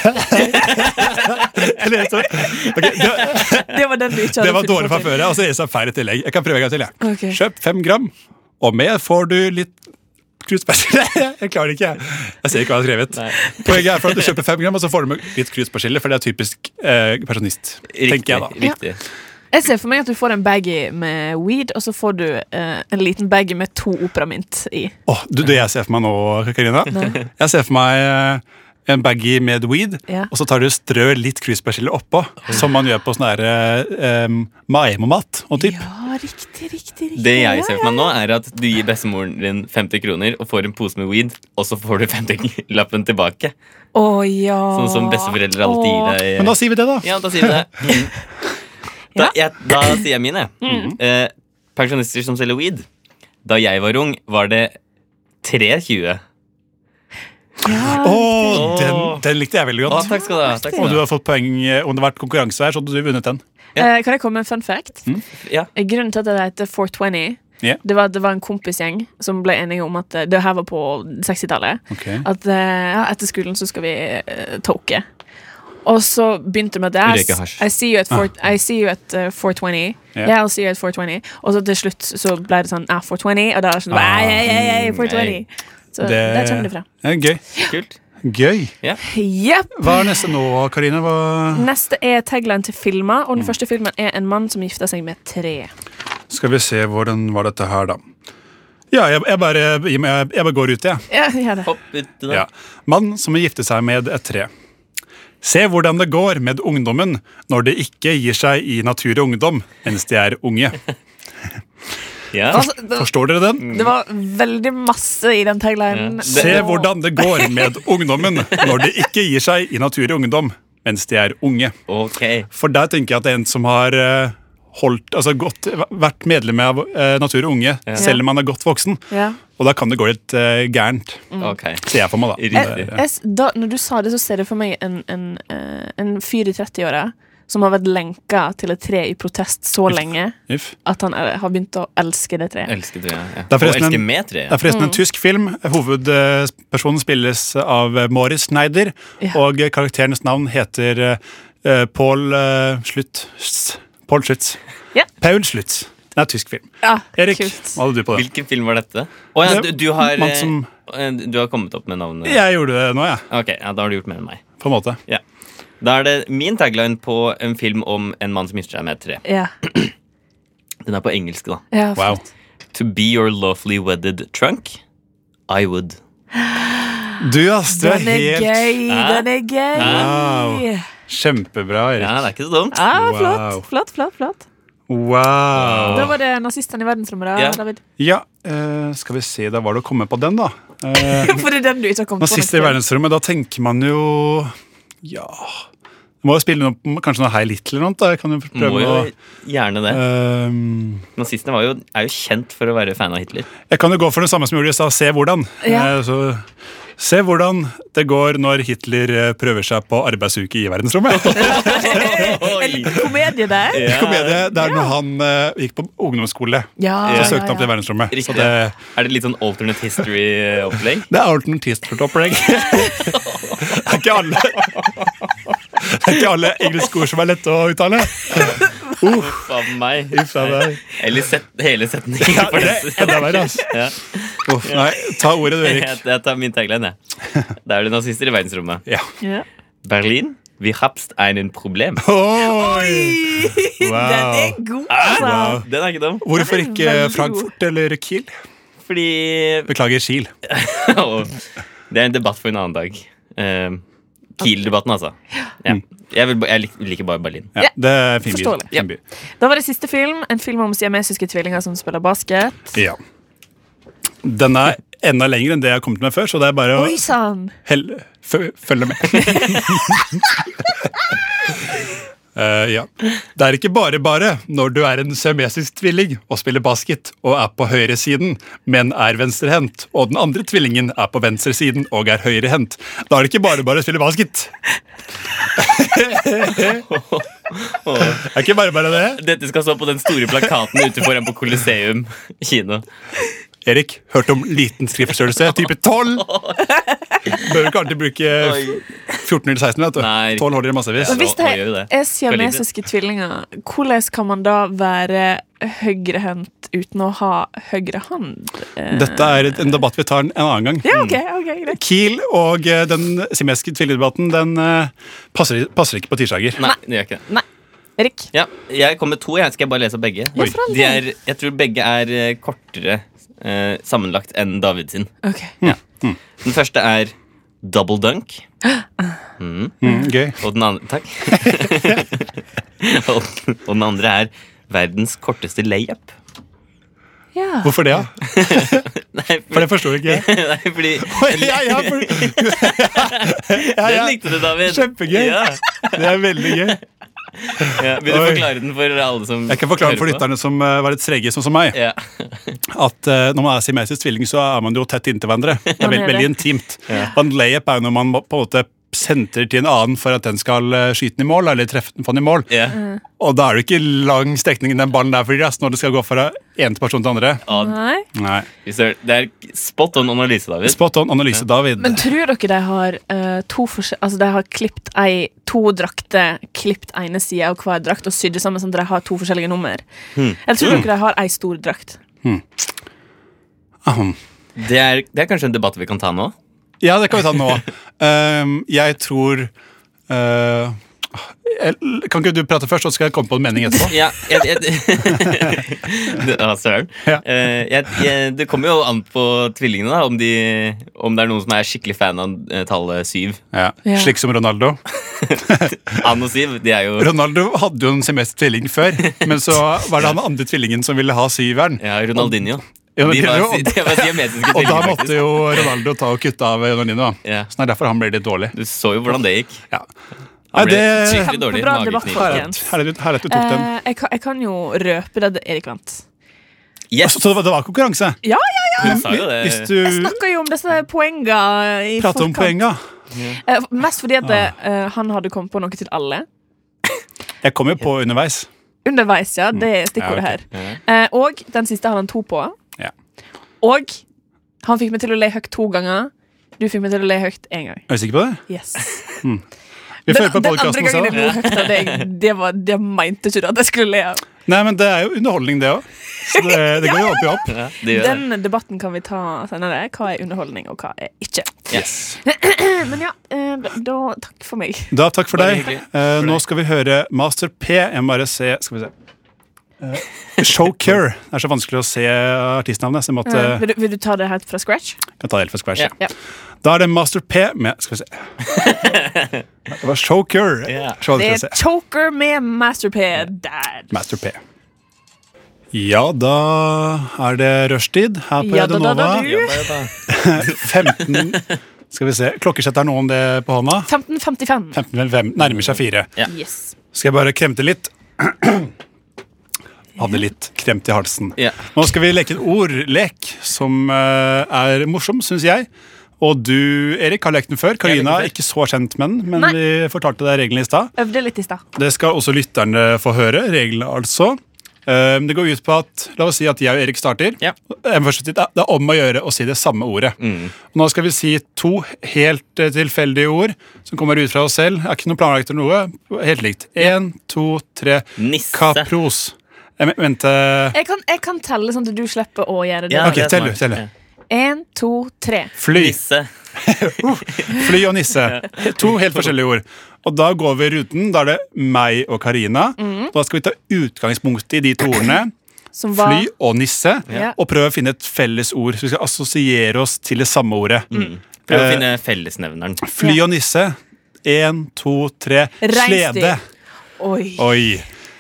S3: Eller så Ok, det,
S5: Det var den du ikke
S3: Det
S5: hadde
S3: var
S5: funnet
S3: dårlig
S5: på
S3: fra før, ja, og så er det så feil i tillegg. Jeg kan prøve en gang til. jeg.
S5: Ok.
S3: Kjøp fem gram, og med får du litt kruspersille. Jeg klarer ikke, jeg. Jeg ser ikke hva jeg har skrevet. Poenget er for at du kjøper fem gram, og så får du med litt kruspersille, for det er typisk eh, pensjonist. tenker jeg da.
S4: Riktig. riktig.
S5: Jeg ser for meg at du får en baggy med weed, og så får du eh, en liten baggy med to operamint i.
S3: Åh, du, det jeg ser for meg nå, Karina Jeg ser for meg eh, en baggy med weed,
S5: Ja.
S3: og så tar du og strø litt kruspersille oppå, som man gjør på sånn her eh, um, maemomat og typ.
S5: Ja, riktig, riktig, riktig.
S4: Det jeg ser for meg nå, er at du gir bestemoren din 50 kroner og får en pose med weed, og så får du 50-lappen tilbake.
S5: Å ja.
S4: Sånn som besteforeldre
S5: Å.
S4: alltid gir deg.
S3: Men da sier vi det, da.
S4: Ja, da sier vi det. Mm. Da, jeg, da sier jeg mine.
S3: Mm.
S4: Eh, pensjonister som selger weed. Da jeg var ung, var det 3,20.
S5: Ja,
S3: Åh,
S4: riktig.
S3: den, den likte jeg veldig
S4: Å,
S3: godt.
S4: takk skal du ha. Takk
S3: Om
S4: skal
S3: du
S4: du ha.
S3: har fått poeng, eh, om det har vært konkurranse her, så hadde du vunnet den.
S4: Ja.
S5: Eh, Kan jeg komme med en fun fact?
S4: Ja.
S5: Grunnen til at det heter 420
S3: Ja.
S5: Det var at det var en kompisgjeng som ble enige om at eh, det her var på 60-tallet.
S3: Ok.
S5: At eh, ja, etter skolen så skal vi eh, toke. Og så begynte det med det.
S4: Røyke hasj.
S5: I see you at, four, I see you at eh, 420.
S3: Ja.
S5: Yeah, I'll see you at 420. Og så til slutt så ble det sånn ah, 420, og da er det sånn
S3: Ah,
S5: ei, ei, ei, ei, 420. Så
S3: Det-
S5: der kommer det fra.
S3: Ja, gøy.
S4: Kult.
S3: gøy.
S5: Jepp.
S3: Hva er neste nå, Karine? Hva...
S5: Neste er tagline til filmer, og den første filmen er en mann som gifter seg med tre.
S3: Skal vi se hvordan var dette her, da. Ja, jeg, jeg, bare, jeg, jeg bare går ut, jeg.
S5: Ja, gjør det.
S4: Hopp uti
S3: Ja.
S4: da.
S3: Mann som vil gifte seg med et tre. Se hvordan det går med ungdommen når de ikke gir seg i natur og ungdom mens de er unge.
S4: Ja.
S5: Altså, det,
S3: Forstår dere den?
S5: det var veldig masse i den taglinen.
S4: Ja.
S3: Se
S5: Og-
S3: hvordan det går med ungdommen når de ikke gir seg i natur og ungdom mens de er unge.
S4: Ok.
S3: For der tenker jeg at det er en som har eh, holdt, altså gått, vært medlem av eh, Natur og Unge, selv om han er godt voksen.
S5: Ja.
S3: Og da kan det gå litt eh, gærent,
S4: ok.
S3: ser jeg for meg. da. Eh,
S4: Riktig.
S5: Jeg, s- da, når du sa det, så ser jeg for meg en, en, eh, en fyr i 30-åra som har vært lenka til et tre i protest så lenge
S3: If.
S5: at han er, har begynt å elske det treet.
S4: Elsker tre.
S3: Det er
S4: Ja. Og
S3: forresten
S4: elsker
S3: en-
S4: med tre.
S3: Det er forresten
S5: Mm.
S3: en tysk film. Hovedpersonen spilles av eh, Moritz Schneider,
S5: Ja.
S3: og eh, karakterens navn heter eh, eh, Paul eh, Schlutz. Paul Schlutz.
S5: Ja.
S3: Paul Schlutz. Det er en tysk film.
S5: Ja,
S3: Erik,
S5: kult.
S3: hva hadde du på det?
S4: Hvilken film var dette? Å ja, du,
S3: Det-
S4: du, har,
S3: mann
S4: eh,
S3: som-
S4: eh, du har kommet opp med navnet?
S3: Jeg gjorde det nå, jeg.
S4: Ok, ja, Da har du gjort mer enn meg.
S3: På en måte.
S4: Ja. Da er det min tagline på en film om en mann som gifter seg med et tre.
S5: Ja.
S4: Den er på engelsk, da.
S5: Ja,
S3: Wow.
S4: To be your lawfully wedded trunk, I would.
S3: Du, ass. Du er
S5: Den er
S3: helt
S5: gøy!
S4: Hæ?
S5: Den er gøy!
S3: Wow. Kjempebra, Erik.
S4: Ja, det er ikke så dumt.
S5: Ja,
S3: Wow.
S5: flott, flott, flott, flott.
S3: Wow.
S5: Da var det nazistene i verdensrommet, da,
S4: Ja.
S5: David.
S3: Ja, eh, skal vi se, da var det å komme på den, da. Eh,
S5: For det er den du ikke har kommet på.
S3: Nazister i verdensrommet, da tenker man jo Ja Du må jo spille noe, kanskje noe Hei Little eller noe. Da. Jeg kan jo
S4: Må
S3: prøve
S4: jo
S3: å
S4: gjerne det.
S3: eh,
S4: Nazistene var jo, er jo kjent for å være fan av Hitler.
S3: Jeg kan jo gå for det samme som jeg gjorde i stad. Se hvordan.
S5: Ja.
S3: Eh, så, se hvordan det går når Hitler eh, prøver seg på arbeidsuke i verdensrommet.
S5: En liten komedie der.
S4: Ja.
S3: Komedie der når han eh, gikk på ungdomsskole,
S5: Ja,
S3: så
S5: ja,
S3: søkte han
S5: ja.
S3: til verdensrommet.
S4: Riktig.
S3: Så det,
S4: Er det litt sånn alternate history-opplegg?
S3: det er alternativt opplegg. det er ikke alle Det er ikke alle engelske ord som er lette å uttale.
S4: Uff a meg.
S3: Uff a meg.
S4: Eller set, hele setningen.
S3: Ja,
S4: for
S3: det
S4: det.
S3: er enda verre, altså.
S4: Ja.
S3: Uff, nei, ta ordet du,
S4: Jeg,
S3: Erik.
S4: jeg tar min tagline, jeg. Da er det nazister i verdensrommet.
S3: Ja.
S5: Ja.
S4: Berlin, vi habst einen problem.
S3: Oi!
S5: Den er
S3: Wow.
S5: god, altså.
S3: Wow.
S4: Den er ikke dum.
S3: Hvorfor ikke
S5: veldig
S3: Frankfurt eller Kiel?
S4: Fordi
S3: Beklager, Kiel.
S4: Åh, Det er en debatt for en annen dag. Eh, Kiel-debatten, altså. Ja. Jeg, vil, ba- jeg lik- liker bare Berlin.
S3: Ja, det er en fin by.
S5: Forståelig.
S3: Fin by.
S5: Da var det siste film. En film om siamesiske tvillinger som spiller basket.
S3: Ja. Den er enda lengre enn det jeg har kommet med før, så det er bare å
S5: Oi sann!
S3: helle, fø- følge med. Eh, ja. Det er ikke bare bare når du er en siamesisk tvilling og spiller basket og er på høyresiden, men er venstrehendt, og den andre tvillingen er på venstresiden og er høyrehendt. Da er det ikke bare bare å spille basket. det er ikke bare bare det.
S4: Dette skal stå på den store plakaten ute foran på Colosseum kino.
S3: Erik, hørt om liten skriftstørrelse, type 12. Bør ikke alltid bruke 14 eller 16, vet du.
S4: Nei.
S3: 12 holder i massevis.
S5: Og hvis
S4: nå
S5: det
S4: gjør vi det.
S5: er siamesiske tvillinger, hvordan kan man da være høyrehendt uten å ha høyre hånd? Eh,
S3: Dette er et- en debatt vi tar en annen gang.
S5: Ja, ok, ok, greit.
S3: Kiel og eh, den simeske tvillingdebatten den eh, passer, passer ikke på tirsdager.
S4: Nei, det gjør ikke det.
S5: Erik.
S4: Ja, jeg kom med to. Jeg skal jeg bare lese opp begge.
S5: Ja, for all
S4: De er, jeg tror begge er eh, kortere eh, sammenlagt enn David sin.
S5: Ok.
S4: Den første er double dunk.
S3: Mm, gøy.
S4: Og den andre Takk. og, og den andre er verdens korteste layup.
S5: Ja.
S3: Hvorfor det, da?
S4: Nei,
S3: For
S4: fordi,
S3: det forstår ikke jeg.
S4: nei, fordi
S3: Ja, ja, for, ja,
S4: Den
S3: ja.
S4: likte du, David.
S3: Kjempegøy.
S4: Ja.
S3: Det er veldig gøy.
S4: Ja, vil du
S3: Oi.
S4: forklare den for alle som
S3: Jeg kan forklare for
S4: hører på?
S3: lytterne som eh, var litt trege, sånn som meg,
S4: Ja.
S3: at eh, når man er siamesisk tvilling, så er man jo tett inntil hverandre. Det er
S5: Man
S3: veldig,
S5: er det.
S3: veldig intimt. Og en layup er jo når man må- på en måte sentrer til en annen for at den skal eh, skyte den i mål, eller treffe den, få den i mål.
S4: Ja.
S3: Og da er det ikke lang strekning den ballen der flyr, ass, når det skal gå fra én person til andre.
S4: Ja,
S5: Nei.
S3: Nei.
S4: fy søren. Det er spot on analyse, David.
S3: Spot on analyse, David.
S5: Men tror dere de har eh, to forskjell... Altså, de har klippt ei, to drakter, klippt ene sida av hver drakt og sydd det sammen sånn at de har to forskjellige nummer? Eller tror dere de har ei stor drakt?
S3: Ahem.
S4: Det er, det er kanskje en debatt vi kan ta nå?
S3: Ja, det kan vi ta nå. Ehm, jeg tror eh, el- Kan ikke du prate først, og så skal jeg komme på en mening etterpå?
S4: Ja, jeg, jeg, det, ah, søren.
S3: Ja.
S4: Eh, jeg, jeg, det kommer jo an på tvillingene, da, om, de, om det er noen som er skikkelig fan av eh, tallet syv.
S3: Ja.
S5: Ja.
S3: Slik som Ronaldo.
S4: Anno syv, de er jo
S3: Ronaldo hadde jo en semester tvilling før, men så var det han andre tvillingen som ville ha syveren.
S4: ja,
S3: Ja,
S4: Ronaldinho. De var,
S3: Ronaldinho.
S4: de var
S3: Og da
S4: siamesiske tvillinger,
S3: måtte
S4: faktisk.
S3: jo Ronaldo ta og kutte av Ronaldinho. da.
S4: Ja.
S3: Så det er derfor han ble litt dårlig.
S4: Du så jo hvordan det gikk.
S3: Ja.
S4: Han
S3: Nei,
S4: ble
S3: det
S4: skikkelig dårlig.
S5: Kjempebra debatt,
S3: Herlig at-
S4: Mageknip.
S3: herlig at- herlig at du tok den.
S5: Eh, jeg, kan, jeg kan jo røpe det til Erik Vent.
S4: Yes,
S3: Så det var, det var konkurranse?
S5: Ja, ja, ja!
S4: hun sa jo det.
S3: Hvis du
S5: Jeg snakker jo om disse poenga i
S3: prater om Ah.
S5: forkant.
S3: poenga
S5: Eh, mest fordi at eh, han hadde kommet på noe til alle.
S3: Jeg kom jo på underveis.
S5: Underveis, ja. Det er stikkordet
S3: Mm. Ja,
S5: her. Eh, og den siste hadde han to på.
S3: Ja.
S5: Og han fikk meg til å le høyt to ganger. Du fikk meg til å le høyt én gang.
S3: Er du sikker på det?
S5: Yes.
S3: Vi
S5: Den,
S3: følger på
S5: den andre
S3: podkasten også.
S5: gangen jeg lo høyt av deg, det, var, det mente ikke du at jeg skulle le av.
S3: Nei, men det er jo underholdning, det òg. Så det, det går jo opp i opp.
S4: Ja, det gjør det.
S5: Den debatten kan vi ta senere. Hva er underholdning, og hva er ikke.
S4: Yes.
S5: Men ja, eh, da da- takk for meg.
S3: Da, takk for
S4: Bare
S3: deg.
S4: hyggelig.
S3: Eh, nå skal vi høre Master P. Jeg må bare se Skal vi se. Eh, Showcure. Det er så vanskelig å se artistnavnet, så jeg måtte
S5: vil, du, vil du ta det helt fra scratch?
S3: jeg ta det helt fra scratch.
S4: Ja.
S5: Ja.
S3: Da er det Master P med Skal vi se. Det var Showcure.
S4: Ja.
S3: Så skal
S5: Det
S3: vi
S5: er
S3: se.
S5: Choker med Masterpad der.
S3: Master P. Ja, da er det rushtid her på
S5: Ja, da,
S3: Radio
S5: da, da,
S3: Nova.
S5: du.
S3: 15 Skal vi se. Klokkesett er noen det på hånda?
S5: 1555.
S3: 15 vel, fem. Nærmer seg fire.
S5: Yes.
S3: Skal jeg bare kremte litt? Hadde litt kremt i halsen.
S4: Ja.
S3: Nå skal vi leke en ordlek som eh, er morsom, syns jeg. Og du, Erik, har lekt den før. Karina
S4: har
S3: er
S4: lekt
S3: ikke så kjent med den, men
S5: Nei.
S3: vi fortalte deg reglene i stad.
S5: Øvde litt i stad.
S3: Det skal også lytterne få høre. Reglene, altså. Eh, det går ut på at La oss si at jeg og Erik starter.
S4: Ja. Mm.
S3: Jeg må først si at Det er om å gjøre å si det samme ordet. Nå skal vi si to helt eh, tilfeldige ord som kommer ut fra oss selv. Er ikke noe planlagt eller noe. Helt likt. Én, to, tre.
S4: Nisse.
S3: Kapros. Jeg men- mente
S5: Jeg kan, jeg kan telle sånn at du slipper å gjøre det.
S4: Ja,
S3: Ok,
S4: det er
S3: tell du,
S4: smart.
S3: tell du.
S4: Ja.
S5: En, to, tre.
S3: fly.
S4: Nisse.
S3: Fly og nisse. To helt forskjellige ord. Og da går vi ruten. Da er det meg og Karina.
S4: Mm.
S3: Da skal vi ta utgangspunkt i de to ordene.
S5: Som var
S3: fly og nisse,
S5: Ja.
S3: og prøve å finne et felles ord. Så vi skal assosiere oss til det samme ordet.
S4: Mm.
S5: Mm.
S4: Prøv å
S3: Eh,
S4: finne fellesnevneren.
S3: Fly og nisse. Én, to, tre.
S5: Reinsdyr.
S3: Slede.
S5: Oi.
S3: Oi.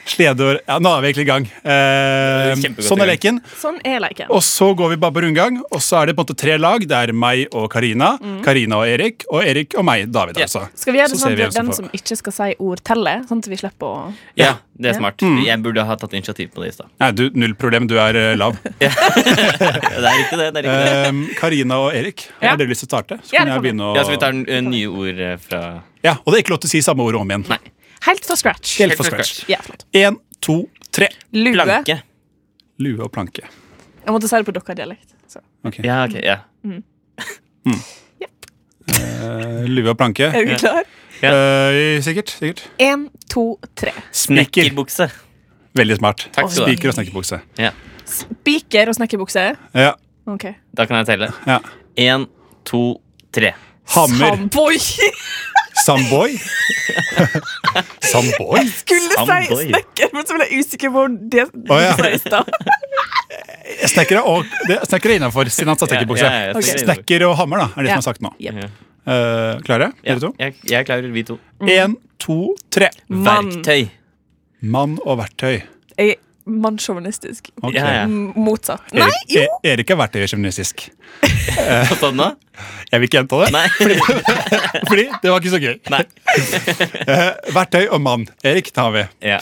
S3: Sledeord. Ja, nå er vi egentlig i gang. Eh,
S4: Kjempegodt
S3: sånn er
S4: i
S3: leken.
S5: Sånn er leken.
S3: Og så går vi bare på rundgang, og så er det på en måte tre lag. Det er meg og Karina, Karina og Erik, og Erik og meg, David,
S4: Ja.
S3: altså.
S5: Mm. Skal vi gjøre det
S3: Så
S5: sånn
S3: ser vi
S5: at
S3: hvem
S5: den
S3: som
S5: som ikke skal si ord, teller? Sånn at vi slipper å
S4: Ja, det er
S5: Ja.
S4: smart.
S3: Mm.
S4: Jeg burde ha tatt initiativ på det i stad.
S3: Nei, du, null problem, du er eh, lav.
S4: Ja, Det er riktig, det. det, er riktig, det.
S3: Eh, Karina og Erik,
S5: Ja.
S3: har dere lyst til å starte? Så
S5: Ja,
S3: kan
S5: det
S3: jeg
S5: kan vi.
S3: begynne å
S4: Ja, så vi tar eh, nye ord eh, fra
S3: Ja, Og det er ikke lov til å si samme ord om igjen.
S4: Nei.
S5: Helt fra scratch.
S3: Helt fra
S4: fra
S3: scratch.
S5: Ja, flott.
S3: Én, to, tre.
S5: Lue.
S4: Planke.
S3: Lue og planke.
S5: Jeg måtte si det på dere-dialekt. så.
S4: Ja, ok, ja.
S3: Eh, lue og planke.
S5: Er dere klar?
S3: Eh, sikkert. sikkert.
S5: En, to, tre.
S3: Snekker.
S4: Nekkerbukse.
S3: Veldig smart.
S4: Takk skal du ha.
S3: Spiker og snekkerbukse.
S5: Spiker og snekkerbukse.
S3: Ja,
S5: Ok.
S4: Da kan jeg telle.
S3: ja.
S4: Én, to, tre.
S3: Hammer.
S5: Samboy!
S3: Samboy. Samboy?
S5: Skulle si
S4: Samboy.
S5: snekker, men så ble jeg usikker på det du
S3: Å, ja.
S5: sa i stad.
S3: Snekker er, og- det- snekker er innafor, siden han sa snekkerbukse.
S4: Ja, ja, ja,
S5: Ok.
S4: snekker.
S3: Snekker og hammer da, er det
S5: Ja.
S3: som er sagt nå.
S5: Jep.
S4: Ja.
S3: Eh, klare?
S4: Ja, Mm.
S3: Dere to?
S4: jeg, jeg klarer vi to.
S3: Én, to, tre.
S5: Mann.
S4: Verktøy.
S3: Mann og verktøy.
S5: Jeg mannssjåvinistisk.
S3: Ok.
S4: Ja, ja.
S5: M- Motsatt. Nei,
S3: Erik,
S5: jo!
S3: E- Erik er verktøysjåvinistisk.
S4: Fått den nå?
S3: Jeg vil ikke gjenta det,
S4: Sånn Nei.
S3: fordi det var ikke så gøy.
S4: Nei.
S3: Eh, verktøy og mann. Erik, den har vi.
S4: Ja.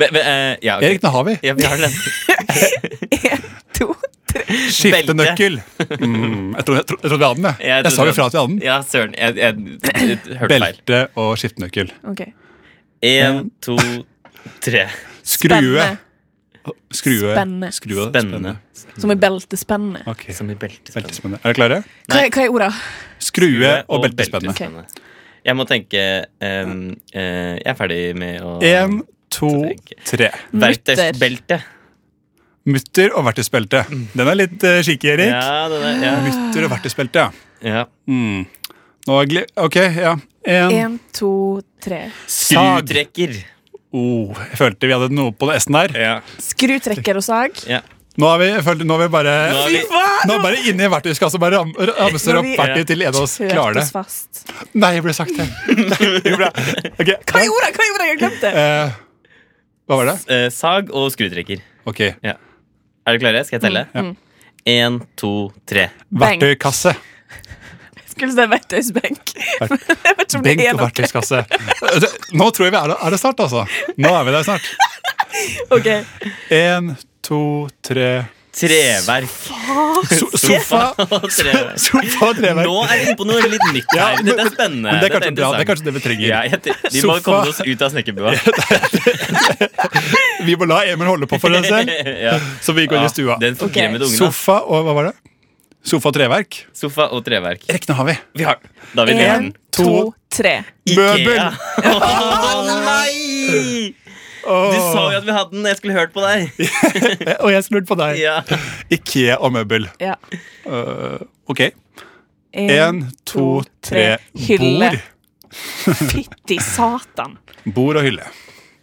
S4: Men, men, eh, ja, ok.
S3: Erik, den har vi.
S4: ja, vi har den.
S5: To.
S3: Skiftenøkkel. Mm, jeg trodde jeg trodde- jeg trodde vi hadde den. Jeg, jeg, sa
S4: trodde-
S3: jo fra at vi hadde den.
S4: Ja, søren. Jeg, jeg, jeg, hørte feil.
S3: Belte og skiftenøkkel.
S5: Ok.
S4: Én, to, tre.
S3: Skrue.
S5: Spennende.
S3: Skrue.
S5: Spennende.
S3: Skrue.
S4: Spennende.
S5: Som i beltespenne.
S3: Ok,
S4: Som i beltespenn.
S3: Beltespennende. Er dere klare?
S5: Hva, er- hva er ordet?
S3: Skrue og beltespenne.
S5: Ok.
S4: Jeg må tenke ehm, eh, Jeg er ferdig med å
S3: Én, to, tre.
S4: Verktøysbelte.
S3: Mutter og verktøysbelte. Den er litt uh, skikkelig, Erik.
S4: Ja, den er, ja.
S3: Mutter og verktøysbelte, ja.
S4: ja.
S3: Mm. Nå er gli... Ok, ja. En
S5: Én, to, tre.
S3: sag.
S4: Skrutrekker.
S3: Oh, jeg følte vi hadde noe på S-en der.
S4: Ja.
S5: Skrutrekker og sag.
S4: ja.
S3: Nå er vi, jeg følte, nå er vi bare
S4: Nå er vi- Fy
S3: Nå er vi bare inne i verktøyskassa bare ram, ramser
S5: Nå er
S3: opp
S5: vi-
S3: verktøy til en av oss klarer
S5: Hørtes
S3: det.
S5: fast.
S3: Nei, jeg ble sagt det. Jo, bra. Ok,
S5: Hva er ordet? Hva er ordet? Jeg har glemt det.
S3: eh, hva var det?
S4: Eh, sag og skrutrekker.
S3: Ok.
S4: Er dere klare? Skal jeg telle?
S3: Mm. Ja.
S4: Én, to, tre.
S5: Bang.
S3: Verktøykasse.
S5: Skulle si verktøysbenk. Jeg vet ikke om det
S3: Benk
S5: er
S3: og
S5: noe.
S3: verktøyskasse. Det- Nå tror jeg vi er, er det snart, altså. Nå er vi der snart.
S5: Ok.
S3: Én, to, tre
S4: Treverk.
S3: so Sofa.
S4: Treverk.
S3: Sofa og treverk.
S4: Nå er vi inne på noe litt nytt
S3: Ja,
S4: her.
S3: men-
S4: Dette er spennende.
S3: Men det er
S4: Dette
S3: kanskje bra. Det er
S4: interessant.
S3: kanskje det vi trenger.
S4: ja, jeg, te- Vi må
S3: Sofa.
S4: komme oss ut av snekkerbua.
S3: Vi må la Emil holde på for det selv,
S4: ja.
S3: så vi går i stua.
S4: Den forgremmede ungen. da.
S3: Sofa og hva var det? Sofa og treverk.
S4: Sofa og treverk.
S3: Erik, nå har vi.
S4: Vi har David
S5: En,
S4: Lerden.
S5: to, tre.
S3: Møbel!
S4: Ikea. Å nei! Du sa jo at vi hadde den. Jeg skulle hørt på deg.
S3: Eh, Og jeg snurte på deg.
S4: Ja.
S3: Ikea og møbel.
S5: Ja.
S3: Ok. En, to, tre.
S5: Hylle.
S3: Bord.
S5: Fytti satan.
S3: Bord og hylle.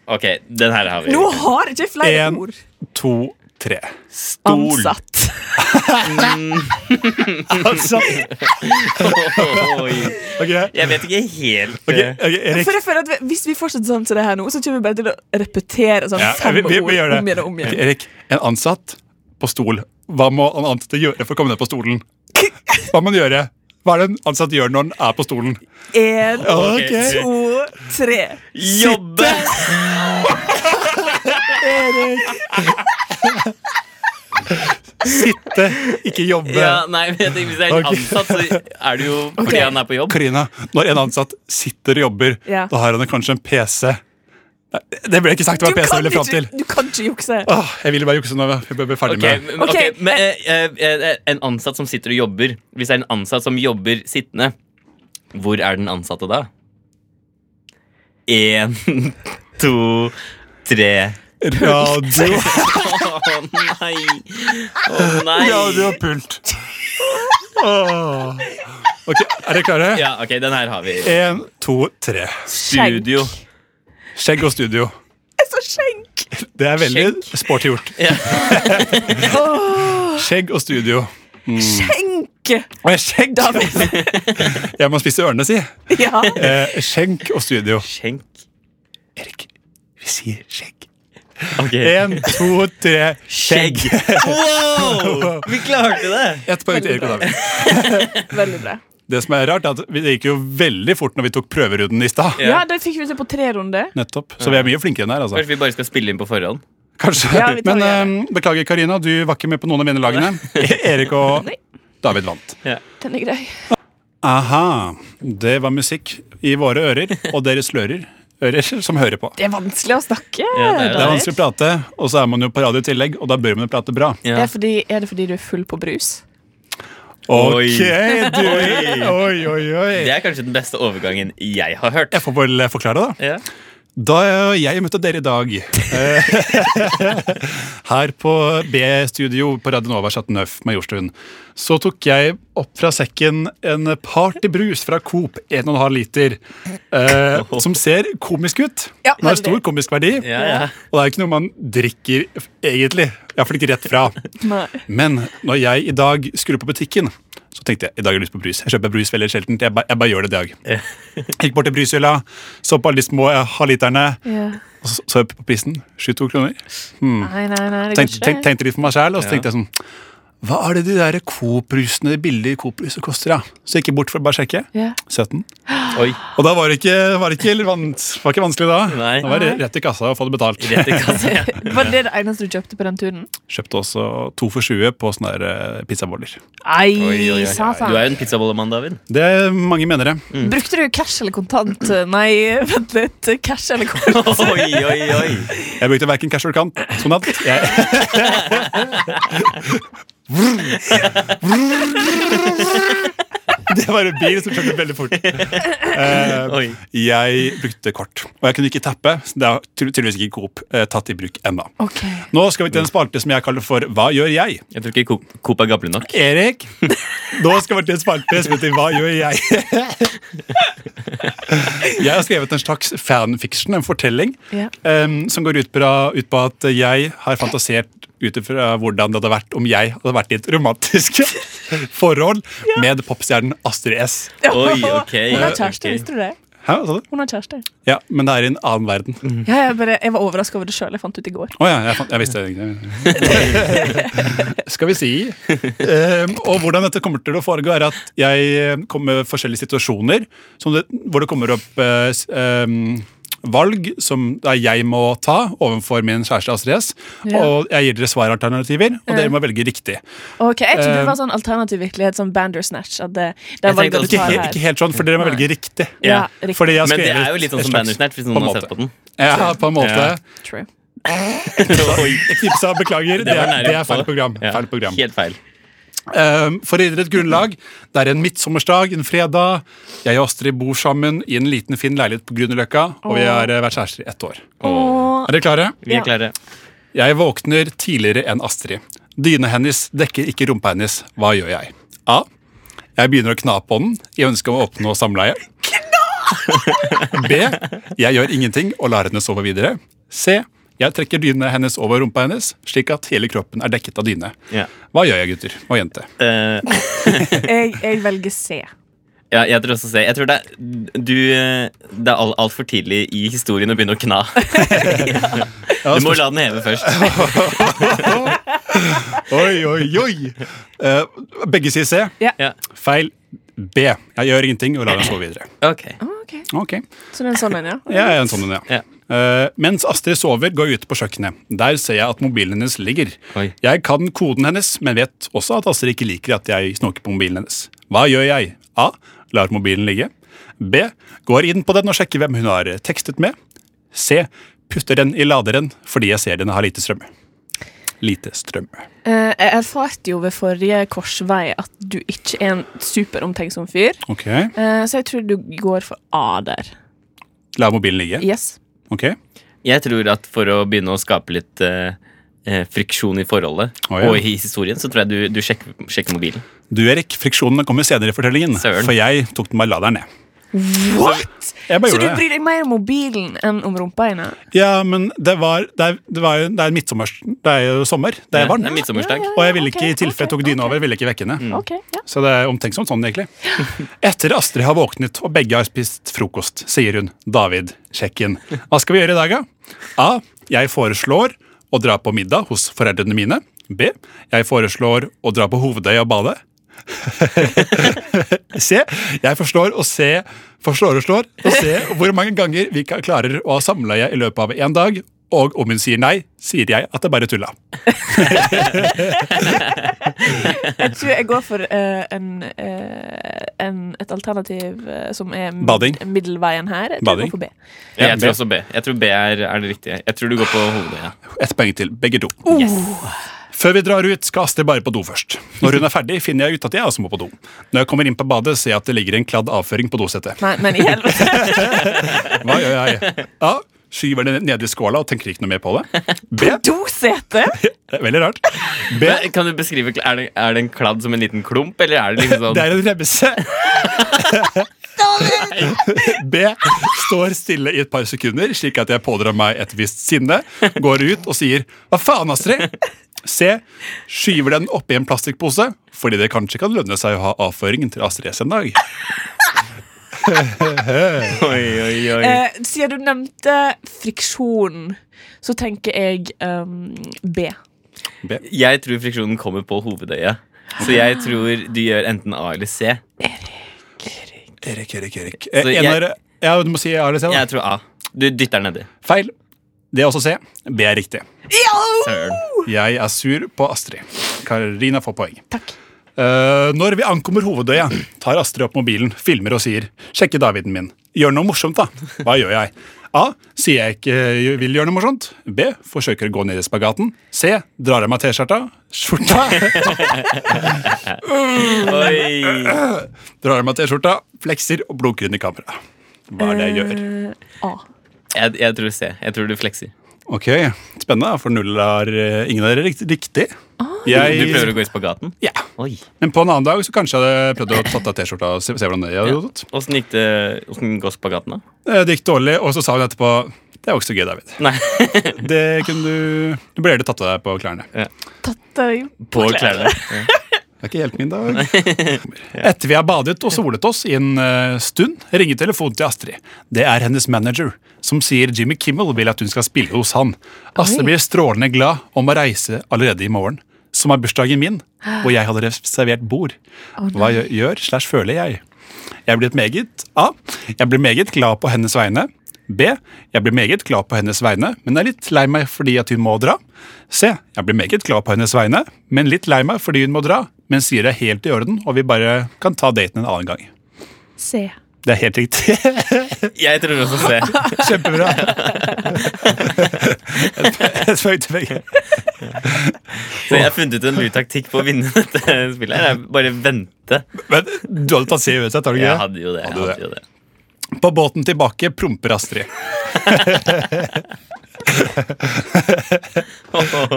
S4: Ok, den her har vi.
S5: Nå har jeg ikke flere
S3: En,
S5: ord.
S3: To, tre.
S5: Ansatt.
S3: Altså,
S4: Oi.
S3: ok.
S4: Jeg vet ikke helt
S3: Ok,
S4: eh,
S3: ok, Erik.
S5: For jeg føler at vi- Hvis vi fortsetter sånn som det her nå, så kommer vi bare til å repetere sånn
S3: Ja,
S5: fem
S3: vi, vi, vi gjør
S5: ord
S3: det.
S5: om igjen og om
S3: Ok,
S5: igjen.
S3: Erik, en ansatt på stol. Hva må en ansatt gjøre for å komme ned på stolen? Hva må han gjøre? Hva er det en ansatt gjør når han er på stolen?
S5: En,
S3: Ok.
S5: to, tre.
S4: Jobbe!
S3: Sitte, ikke jobbe.
S4: Ja, nei, men jeg tenker, Hvis jeg er
S3: Ok.
S4: ansatt, så er det jo fordi han er på jobb.
S3: Karina, når en ansatt sitter og jobber,
S5: Ja.
S3: da har han kanskje en PC. Nei, Det ble ikke sagt hva
S5: Du
S3: PC
S5: kan
S3: ville fram til.
S5: ikke, du kan ikke jukse.
S3: Åh, jeg ville bare jukse når vi ble ferdig
S4: Ok,
S3: med
S4: men-
S5: Ok,
S4: ok, men eh, eh, eh, En ansatt som sitter og jobber Hvis det er en ansatt som jobber sittende Hvor er den ansatte da? En, to, tre
S3: radio,
S4: Å nei Å nei
S3: radio og pult. Åh. Ok, er dere klare?
S4: Ja, ok, den her har vi
S3: En, to, tre.
S5: Skjenk.
S4: Studio
S3: Skjegg og studio.
S5: Jeg sa skjenk.
S3: Det er veldig sporty gjort. Skjegg og studio. Mm.
S5: Skjenk!
S3: Og jeg skjegg! jeg må spise ørene, si.
S5: Ja.
S3: Eh, skjenk og studio.
S4: Skjenk
S3: Erik, vi sier skjegg.
S4: Ok
S3: En, to, tre,
S4: Skjegg
S3: skjegg.
S4: Wow, vi klarte det
S3: Ett poeng til Erik og David.
S5: Veldig bra.
S3: Det som er rart, er at vi- det gikk jo veldig fort når vi tok prøverunden i stad.
S4: Ja.
S5: Ja, det fikk vi til på tre runder.
S3: Nettopp. Så vi er mye flinkere enn her, altså.
S4: Kanskje vi bare skal spille inn på forhånd
S3: Kanskje.
S5: Ja, vi tar
S3: Men
S5: det.
S3: eh, beklager, Karina, du var ikke med på noen av vinnerlagene. Erik og
S5: Nei.
S3: David vant.
S5: Den er grei.
S3: Aha. Det var musikk i våre ører og deres lører. Ører som hører på.
S5: Det er vanskelig å snakke.
S4: Ja, det er det.
S3: Det er
S5: Daniel.
S3: vanskelig å prate, og så er man jo på radio i tillegg, og da bør man jo prate bra.
S5: Det er, fordi, er det fordi du er full på brus?
S4: Oi.
S3: Ok, du Oi, oi, oi.
S4: Det er kanskje den beste overgangen jeg har hørt
S3: Jeg får vel forklare, da.
S4: Ja
S3: Da jeg møtte dere i dag eh, Her på B-studio på Radio Nova Chateauneuf, Majorstuen, så tok jeg opp fra sekken en partybrus fra Coop, 1,5 liter, eh, som ser komisk ut.
S5: Ja,
S3: Den har
S5: veldig.
S3: stor komisk verdi,
S4: Ja, ja.
S3: og det er jo ikke noe man drikker egentlig. Iallfall ikke rett fra.
S5: Nei.
S3: Men når jeg i dag skulle på butikken, Så tenkte jeg i dag har jeg lyst på brus. Jeg kjøper brus veldig sjeldent. Jeg, ba, jeg bare gjør det i dag. Jeg Gikk bort til brushylla, så på alle de små eh, halvliterne,
S5: Ja.
S3: og så så jeg på prisen. 22 kroner.
S5: Nei, nei, nei, det går
S3: Tenkte,
S5: ikke.
S3: tenk, tenkte litt for meg sjæl, og så tenkte jeg sånn Hva er det de der Coop-brusene, de billige Coop-brusene koster, da? Så jeg gikk bort for å bare sjekke.
S5: Ja.
S3: 17.
S4: Oi,
S3: Og da var det ikke, var det ikke, vans, var ikke vanskelig da.
S4: Nei.
S3: Da var det rett i kassa og få det betalt.
S4: rett i kassa. ja.
S5: Var det det eneste du kjøpte på den turen?
S3: Kjøpte også to for 20 på sånne der, eh, pizzaboller.
S5: Nei,
S4: Oi, oi, oi. Du
S5: satan.
S4: er jo en pizzabollemann, David.
S3: Det er mange mener det.
S5: Brukte du cash eller kontant? Nei, vent litt. Cash eller kontant?
S4: Oi, oi, oi.
S3: Jeg brukte verken cash or kant. Sånn at jeg, det var en bil som kjørte veldig fort. Eh,
S4: oi.
S3: jeg brukte kort, og jeg kunne ikke tappe. så Det har ty- tydeligvis ikke Coop eh, tatt i bruk ennå.
S5: Ok.
S3: Nå skal vi til en spalte som jeg kaller for Hva gjør jeg?
S4: Jeg tror ikke Coop- Coop er gamle nok.
S3: Erik, nå skal vi til en spalte som heter Hva gjør jeg? Jeg har skrevet en slags fanfiction, en fortelling,
S5: Ja.
S3: em, som går ut på, ut på at jeg har fantasert ut ifra hvordan det hadde vært om jeg hadde vært i et romantisk forhold med popstjernen Astrid S.
S4: Oi, ok.
S5: Hun har kjæreste,
S4: ok.
S5: visste du det?
S3: Hæ, hva sa du?
S5: Hun har kjæreste.
S3: Ja, men det er i en annen verden. Å
S5: Ja, jeg, bare, jeg var overraska over det sjøl. Jeg fant ut i går.
S3: ja, jeg, fant, jeg visste det egentlig. Skal vi si. Em, Ehm, og hvordan dette kommer til å foregå, er at jeg kommer med forskjellige situasjoner som det, hvor det kommer opp eh, s- em, valg som da jeg må ta overfor min kjæreste Astrid S.
S5: Ja.
S3: Og jeg gir dere svaralternativer, og dere må velge riktig.
S5: Ok, Jeg trodde det
S3: Eh,
S5: var sånn alternativ virkelighet, sånn Bandersnatch. At det, den
S4: Jeg tenkte
S5: valget du
S4: også-
S3: Ikke,
S5: tar
S3: he-
S5: her.
S3: ikke helt sånn, for dere må
S5: Nei.
S3: velge riktig.
S5: Ja, riktig.
S3: Fordi jeg har
S4: Men det
S3: skrevet
S4: er jo litt sånn
S3: et
S4: som
S3: slags-
S4: Bandersnatch, hvis
S3: på
S4: noen
S3: en
S4: har
S3: måte.
S4: sett på den.
S3: Ja, på en måte.
S4: Ja.
S5: True.
S4: Oi,
S3: Knipsa, beklager. Det,
S4: det var
S3: er-
S4: nære
S3: det er
S4: på.
S3: feil program.
S4: Ja,
S3: Feil program.
S4: Helt feil.
S3: Um, for å gi dere et grunnlag, det er en midtsommersdag, en fredag. Jeg og Astrid bor sammen i en liten fin leilighet på Grünerløkka, og vi har eh, vært kjærester i ett år.
S5: Åh,
S3: Er dere klare?
S4: Vi er klare.
S3: Jeg våkner tidligere enn Astrid. Dyna hennes dekker ikke rumpa hennes. Hva gjør jeg? A. Jeg begynner å kna på den i ønske om å oppnå samleie. B. Jeg gjør ingenting og lar henne sove videre. C. Jeg trekker dyna hennes over rumpa hennes, slik at hele kroppen er dekket av dyne.
S4: Ja.
S3: Hva gjør jeg, gutter og jente?
S4: Eh,
S5: jeg, jeg velger C.
S4: ja, jeg tror også se. Jeg tror det er, du, eh, det er alt altfor tidlig i historien å begynne å kna. Du må la den heve først.
S3: Oi, oi, oi! Eh, begge sier C.
S4: Ja.
S3: Feil B. Jeg gjør ingenting og lar henne sove videre.
S4: Ok.
S5: Ah, Ok,
S3: Ok,
S5: Så det er en sånn en, ja?
S3: jeg er en sånn en, ja.
S4: Ja.
S3: Eh, mens Astrid sover, går jeg ut på kjøkkenet. Der ser jeg at mobilen hennes ligger.
S4: Oi.
S3: Jeg kan koden hennes, men vet også at Astrid ikke liker at jeg snoker på mobilen hennes. Hva gjør jeg? A. Lar mobilen ligge. B. Går inn på den og sjekker hvem hun har tekstet med. C. Putter den i laderen fordi jeg ser den har lite strøm. Lite strøm.
S5: Eh, jeg erfarte jo ved forrige korsvei at du ikke er en superomtenksom fyr.
S3: Ok,
S5: Eh, så jeg tror du går for A der.
S3: La mobilen ligge.
S5: Yes.
S3: Ok.
S4: Jeg tror at for å begynne å skape litt eh, eh, friksjon i forholdet
S3: Å, ja.
S4: og i historien, så tror jeg du, du sjekker, sjekker mobilen.
S3: Du, Erik, friksjonene kommer senere i fortellingen.
S4: Søren.
S3: For jeg tok den bare laderen ned.
S5: What?!
S3: Jeg bare
S5: Så du
S3: gjorde det.
S5: bryr deg mer om mobilen enn om rumpa dine?
S3: Ja, men det var Det er, det var jo, det er midtsommers... Det er jo sommer. Det er varmt.
S4: Det er Mm. midtsommersdag.
S3: Og jeg ville ikke, i
S5: Ok,
S3: tilfelle jeg tok
S5: ok,
S3: dyna
S5: ok.
S3: over, ville ikke vekke henne.
S5: Ok, ja.
S3: Så det er omtenksomt sånn, egentlig. Etter Astrid har våknet og begge har spist frokost, sier hun David, sjekk inn. Hva skal vi gjøre i dag, da? A. Jeg foreslår å dra på middag hos foreldrene mine. B. Jeg foreslår å dra på Hovedøya og bade. C. Jeg forstår og se forslår og slår og se hvor mange ganger vi kan- klarer å ha samleie i løpet av én dag. Og om hun sier nei, sier jeg at det bare tulla.
S5: Jeg tror jeg går for eh, en, eh, en, et alternativ eh, som er mid-
S3: Bading.
S5: middelveien her. Jeg tror
S3: Bading.
S5: jeg går for B.
S4: Jeg
S3: B.
S4: tror også B. Jeg tror B er, er det riktige. Jeg tror du går på hodet. Ja.
S3: Ett poeng til, begge to. Før vi drar ut, skal Astrid bare på do først. Når hun er ferdig, finner jeg ut at jeg også må på do. Når jeg kommer inn på badet, ser jeg at det ligger en kladd avføring på dosettet.
S5: Nei, men i helvete.
S3: Hva gjør jeg? A. Skyver det ned i skåla og tenker ikke noe mer på det. B.
S5: Dosete!
S3: Det er Veldig rart. B.
S4: Men Kan du beskrive, er det, er det en kladd som en liten klump, eller er det liksom sånn
S3: Det er en remse. B. Står stille i et par sekunder, slik at jeg pådrar meg et visst sinne. Går ut og sier 'hva faen, Astrid'? C. Skyver den oppi en plastikkpose fordi det kanskje kan lønne seg å ha avføringen til Astrid S en dag.
S4: Oi, oi, oi.
S5: Eh, siden du nevnte friksjon, så tenker jeg um, B.
S4: Jeg tror friksjonen kommer på hovedøyet. Så jeg tror du gjør enten A eller C.
S3: Erik, Erik, Erik.
S4: Så
S3: Eh,
S4: jeg-
S3: enere- ja, du må si A eller C. Da.
S4: Jeg tror A. Du dytter den nedi.
S3: Feil. Det er også C. B er riktig.
S4: Søren.
S3: Jeg er sur på Astrid. Karina får poeng.
S5: Takk.
S3: Eh, når vi ankommer hovedøya, tar Astrid opp mobilen, filmer og sier 'Sjekke Daviden min'. Gjør noe morsomt, da. Hva gjør jeg? A. Sier jeg ikke eh, vil gjøre noe morsomt. B. Forsøker å gå ned i spagaten. C. Drar av meg T-skjorta. Skjorta. Uh!
S4: Oi.
S3: Drar av meg T-skjorta, flekser og blunker inn i kameraet. Hva er det jeg gjør?
S5: Eh, A.
S4: Jeg, jeg tror C. Jeg tror du flekser.
S3: Ok, Spennende, for null er eh, ingen av dere rikt- riktig.
S5: Ah.
S3: Jeg,
S4: Du prøver å gå i spagaten?
S3: Ja.
S4: Oi.
S3: Men på en annen dag så kanskje jeg hadde prøvd å tatt av T-skjorta. og se, se hvordan Det hadde gått.
S4: Åssen gikk det Åssen går spagaten, da?
S3: Eh, Det gikk dårlig, og så sa hun etterpå Det er jo ikke så gøy, David.
S4: Nei,
S3: Det kunne du Du burde heller tatt av deg på klærne.
S5: Tatt deg
S4: på klærne.
S3: Det er ikke helt min dag. Etter vi har badet og solet oss i en eh, stund, ringer telefonen til Astrid. Det er hennes manager, som sier Jimmy Kimmel vil at hun skal spille hos han. Astrid blir strålende glad om å reise allerede i morgen, som er bursdagen min, og jeg hadde reservert bord. Hva gjør- gjør slash føler jeg? Jeg blir meget A. Jeg blir meget glad på hennes vegne. B. Jeg blir meget glad på hennes vegne, men er litt lei meg fordi at hun må dra. C. Jeg blir meget glad på hennes vegne, men litt lei meg fordi hun må dra, men sier det er helt i orden, og vi bare kan ta daten en annen gang.
S5: C.
S3: Det er helt riktig.
S4: Jeg tror også C.
S3: Kjempebra. Et poeng til begge.
S4: Så jeg har funnet ut en lur taktikk på å vinne dette spillet. her. Jeg bare vente.
S3: Men du hadde tatt C uansett, har du
S4: Jeg
S3: ikke
S4: hadde jo det. Jeg
S3: Hadde
S4: hadde
S3: det.
S4: jo det.
S3: det? På båten tilbake promper Astrid.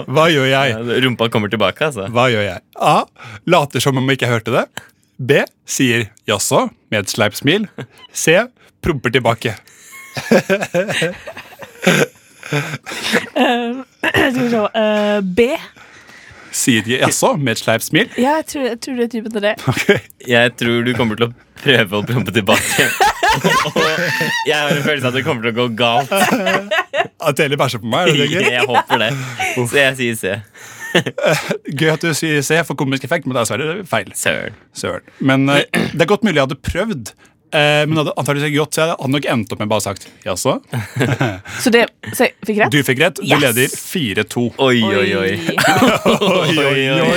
S3: Hva gjør jeg?
S4: Rumpa kommer tilbake, altså.
S3: Hva gjør jeg? A. Later som om jeg ikke hørte det. B. Sier jaså med et sleipt smil. C. Promper tilbake.
S5: Skal vi se. eh, B.
S3: Sier jaså med et sleipt smil.
S5: Ja, jeg tror, jeg tror du er typen til det.
S4: Jeg tror du kommer til å prøve å prompe tilbake. Og jeg har en følelse av at det kommer til å gå galt.
S3: At Eli bæsjer på meg. er det ikke?
S4: Jeg håper det. Så jeg sier C.
S3: Gøy at du sier C for komisk effekt, men dessverre er det feil.
S4: Søren.
S3: Søren. Men eh, det er godt mulig jeg hadde prøvd. eh, Men hadde antakeligvis ikke gått, så jeg hadde nok endt opp med bare sagt jaså.
S5: Så det så jeg fikk rett?
S3: Du fikk rett. Du
S5: Yes!
S3: leder 4-2.
S4: Oi, oi, oi.
S3: Oi, oi, oi.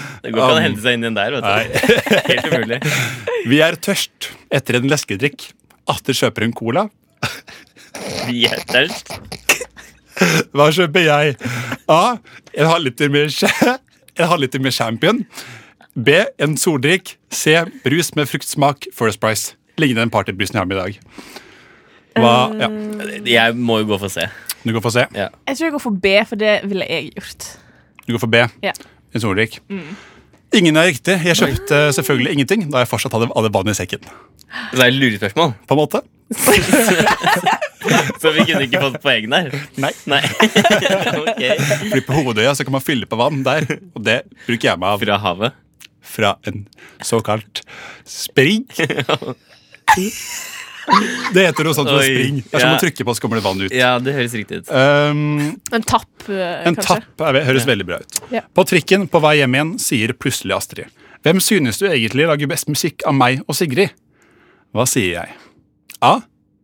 S4: Det går ikke an å hente seg inn igjen der. vet du Helt umulig.
S3: Vi er tørst etter en leskedrikk. Atter kjøper hun cola.
S4: Vi er tørst.
S3: Hva kjøper jeg? A. En halvliter med, cha- en halvliter med champion. B. En soldrikk. C. Brus med fruktsmak. First Price. Lignende den partybrusen jeg har med i dag. Hva? Ja, Mm.
S4: Jeg må jo gå for C.
S3: du går for C.
S5: Jeg tror jeg går for B, for det ville jeg gjort.
S3: Du går for B.
S5: Ja.
S3: En soldrikk. Ingen er riktig. Jeg kjøpte selvfølgelig ingenting da jeg fortsatt hadde, hadde vann i sekken.
S4: Så det er et lurespørsmål.
S3: På en måte.
S4: Så vi kunne ikke fått poeng der.
S3: Nei.
S4: Nei. Ok.
S3: Fordi på Hovedøya så kan man fylle på vann der, og det bruker jeg meg av
S4: Fra havet.
S3: fra en såkalt spring. Det heter noe sånt som
S4: Oi,
S3: spring. Det er som
S4: ja.
S3: å trykke på, så kommer det vann ut.
S4: Ja, det høres riktig ut.
S3: Um,
S5: En tapp, eh,
S3: en
S5: kanskje.
S3: tapp er, høres veldig bra ut.
S5: Ja.
S3: På trikken på vei hjem igjen sier plutselig Astrid. Hvem synes du egentlig lager best musikk av meg og Sigrid? Hva sier jeg? A.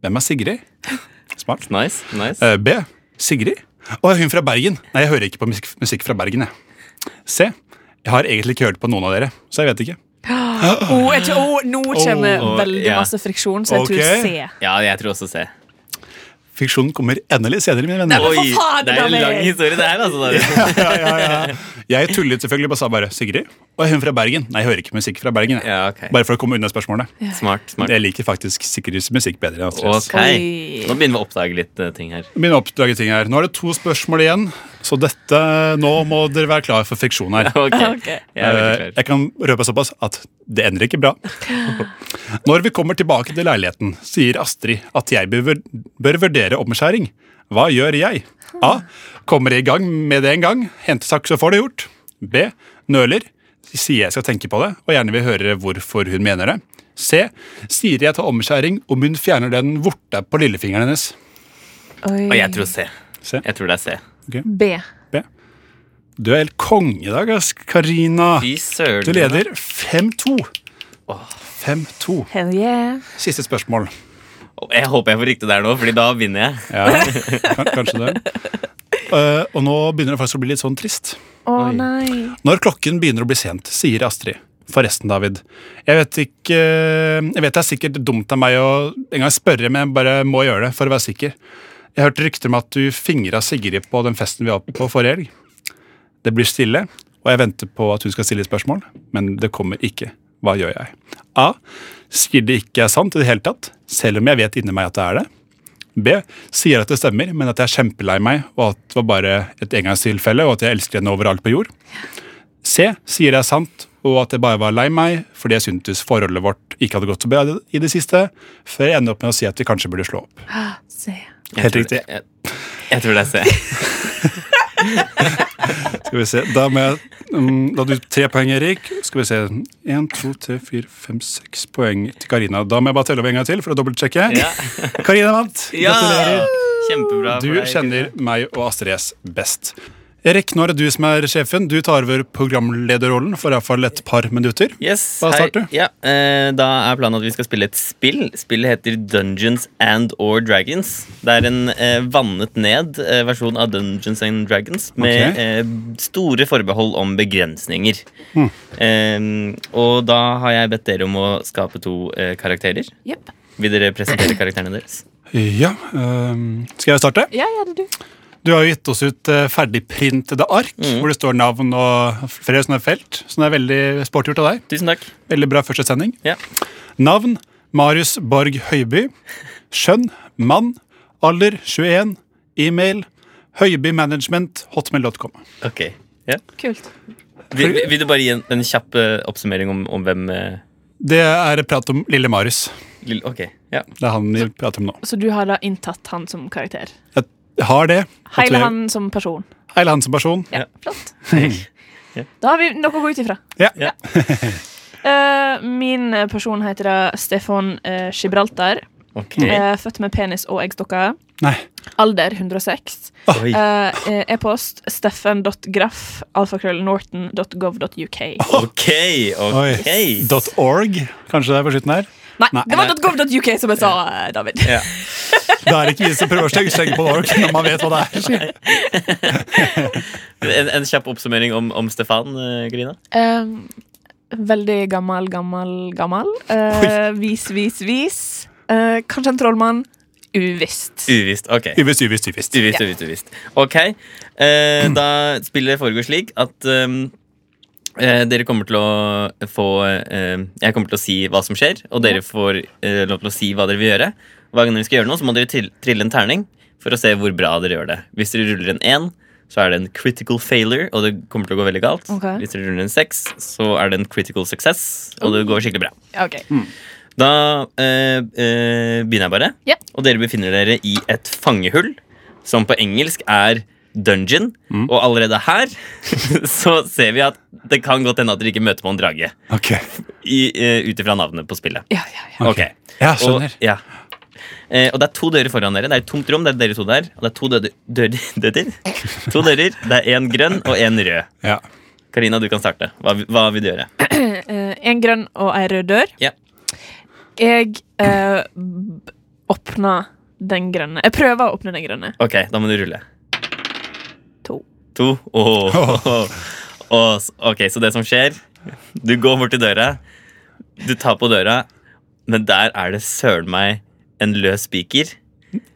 S3: Hvem er Sigrid? Smart.
S4: Nice. nice
S3: Eh, B. Sigrid? Å, hun fra Bergen. Nei, jeg hører ikke på musikk, musikk fra Bergen, jeg. C. Jeg har egentlig ikke hørt på noen av dere, så jeg vet ikke.
S5: Oh, jeg tror, oh, nå kommer
S4: oh,
S5: veldig
S4: ja.
S5: masse friksjon, så jeg
S3: eh, Ok.
S5: tror C.
S4: Ja, jeg tror også C.
S3: Fiksjonen kommer endelig senere, mine venner.
S4: Oi,
S5: faen,
S4: det er en
S5: David!
S4: lang historie, det her. altså David.
S3: Jeg tullet selvfølgelig bare sa bare Sigrid. Og er hun fra Bergen? Nei, jeg hører ikke musikk fra Bergen. Jeg.
S4: Ja, ok.
S3: Bare for å komme unna spørsmålet.
S4: Smart. smart
S3: Jeg liker faktisk Sigrids musikk bedre enn Astrid's.
S4: Ok,
S5: Oi.
S4: Nå begynner vi å oppdage litt eh, ting her.
S3: Mine oppdraget ting her. Nå er det to spørsmål igjen, så dette, nå må dere være klare for fiksjon her.
S4: Ok,
S5: Ok.
S4: Jeg er
S3: Eh,
S4: veldig klar.
S3: Jeg kan røpe såpass at det ender ikke bra. Når vi kommer tilbake til leiligheten, sier Astrid at jeg bør, bør vurdere omskjæring. Hva gjør jeg? A. Kommer i gang med det en gang. Henter sak, så får det gjort. B. Nøler. Sier jeg skal tenke på det, og gjerne vil høre hvorfor hun mener det. C. Sier jeg tar omskjæring om hun fjerner den vorta på lillefingeren hennes.
S5: Oi.
S4: Og jeg tror C.
S3: C.
S4: Jeg tror det er C.
S5: B.
S3: Du er helt konge i dag, ass, Karina.
S4: Fy søren.
S3: Du leder 5-2. 5-2.
S5: Hell yeah.
S3: Siste spørsmål.
S4: Jeg håper jeg får riktig der nå, Fordi da vinner jeg.
S3: Ja, kan- kanskje det. Eh, og nå begynner det faktisk å bli litt sånn trist.
S5: Å nei.
S3: Når klokken begynner å bli sent, sier Astrid. Forresten, David. Jeg vet ikke Jeg vet det er sikkert dumt av meg å engang spørre, men jeg bare må gjøre det for å være sikker. Jeg hørte rykter om at du fingra Sigrid på den festen vi var på forrige helg. Det blir stille, og jeg venter på at hun skal stille spørsmål, men det kommer ikke. Hva gjør jeg? A. Sier det ikke er sant i det hele tatt, selv om jeg vet inni meg at det er det. B. Sier at det stemmer, men at jeg er kjempelei meg, og at det var bare et engangstilfelle, og at jeg elsker henne overalt på jord. C. Sier det er sant, og at jeg bare var lei meg fordi jeg syntes forholdet vårt ikke hadde gått så bra i det siste, før jeg ender opp med å si at vi kanskje burde slå opp.
S5: C.
S4: Jeg
S3: Helt
S4: tror-
S3: riktig.
S4: Jeg, jeg tror det er C.
S3: Skal vi se, Da må jeg mm, Da hadde du tre poeng, Erik. Skal vi se. Én, to, tre, fire, fem, seks poeng til Karina. Da må jeg bare telle over en gang til for å dobbeltsjekke.
S4: Ja.
S3: Karina vant.
S4: ja.
S3: Gratulerer.
S4: Kjempebra.
S3: Du kjenner meg og Astrid S best. Erik, nå er det du som er sjefen. Du tar over programlederrollen for iallfall et par minutter.
S4: Yes,
S3: Hva
S4: hei.
S3: starter du?
S4: Ja, eh, da er planen at vi skal spille et spill. Spillet heter Dungeons and or Dragons. Det er en eh, vannet ned eh, versjon av Dungeons and Dragons med
S3: Ok.
S4: eh, store forbehold om begrensninger.
S3: Hm.
S4: Eh, og da har jeg bedt dere om å skape to eh, karakterer.
S5: Jepp.
S4: Vil dere presentere karakterene deres?
S3: Ja, øhm, Skal jeg starte?
S5: Ja, ja, det er du.
S3: Du har jo gitt oss ut eh, ferdigprintede ark,
S5: Mm.
S3: hvor det står navn og flere sånne felt. Så det er veldig sporty gjort av deg.
S4: Tusen takk.
S3: Veldig bra første sending.
S4: Ja.
S3: Navn Marius Borg Høiby. Skjønn mann. Alder 21. E-mail høibymanagement.hotmail.com.
S4: Ok. Ja.
S5: Kult.
S4: Vil, vil- vil du bare gi en, en kjapp eh, oppsummering om, om hvem eh,
S3: Det er prat om lille Marius.
S4: Lill- Ok. Ja.
S3: Det er han vi prater om nå.
S5: Så du har da inntatt han som karakter?
S3: Jeg har det.
S5: Hele
S3: Gratulerer.
S5: han som person?
S3: Heil han som person.
S5: Ja,
S4: Ja.
S5: flott. Da har vi noe å gå ut ifra.
S3: Ja.
S4: Ja.
S5: Eh, min eh, person heter da Stefan eh, Gibraltar.
S4: Ok.
S5: Eh, født med penis og eggstokker.
S3: Nei.
S5: Alder 106.
S3: Ah.
S4: Oi.
S5: Eh, eh, E-post steffen.graff alfakrøllnorton.gov.uk.
S4: Ok, ok.
S3: Dot .org, kanskje det er på slutten her.
S5: Nei,
S3: Nei.
S5: det var .gov.uk som jeg sa, eh, David.
S4: Ja.
S3: Da er det ikke vi som prøver å stenge- stenge på .org når man vet hva det er.
S4: En, en kjapp oppsummering om, om Stefan, eh, Grina.
S5: Eh, veldig gammel, gammel, gammel. Eh, vis, vis, vis. Eh, kanskje en trollmann. Uvisst.
S4: Uvisst. ok
S3: Uvisst, uvisst, uvisst.
S4: Uvisst, uvisst, uvisst. Ok, eh, da spillet foregår slik at ehm, eh, dere kommer til å få eh, Jeg kommer til å si hva som skjer, og dere får eh, lov til å si hva dere vil gjøre. Hver gang dere skal gjøre noe, så må dere til, trille en terning for å se hvor bra dere gjør det. Hvis dere ruller en én, så er det en critical failure, og det kommer til å gå veldig galt.
S5: Ok.
S4: Hvis dere ruller en seks, så er det en critical success, og det går skikkelig bra.
S5: Ok.
S4: Mm. Da eh, eh, begynner jeg bare.
S5: Ja.
S4: Og dere befinner dere i et fangehull, som på engelsk er dungeon. Og allerede her så ser vi at det kan godt hende at dere ikke møter på en drage.
S3: Ok.
S4: i, eh, Ut ifra navnet på spillet.
S5: Ja, ja, ja.
S4: Ok,
S3: Ja,
S4: Og,
S3: skjønner.
S4: ja. Eh, og det er to dører foran dere. Det er et tomt rom. det er dere to der Og det er to døde, dører, døder. To dører. Det er én grønn og én rød.
S3: Ja.
S4: Karina, du kan starte. Hva, hva vil du gjøre?
S5: Eh, en grønn og ei rød dør.
S4: Ja.
S5: Jeg eh, b- åpner den grønne. Jeg prøver å åpne den grønne.
S4: Ok, da må du rulle.
S5: To.
S4: To? Åh. Åh, s- ok, så det som skjer Du går bort til døra, du tar på døra, men der er det søren meg en løs spiker.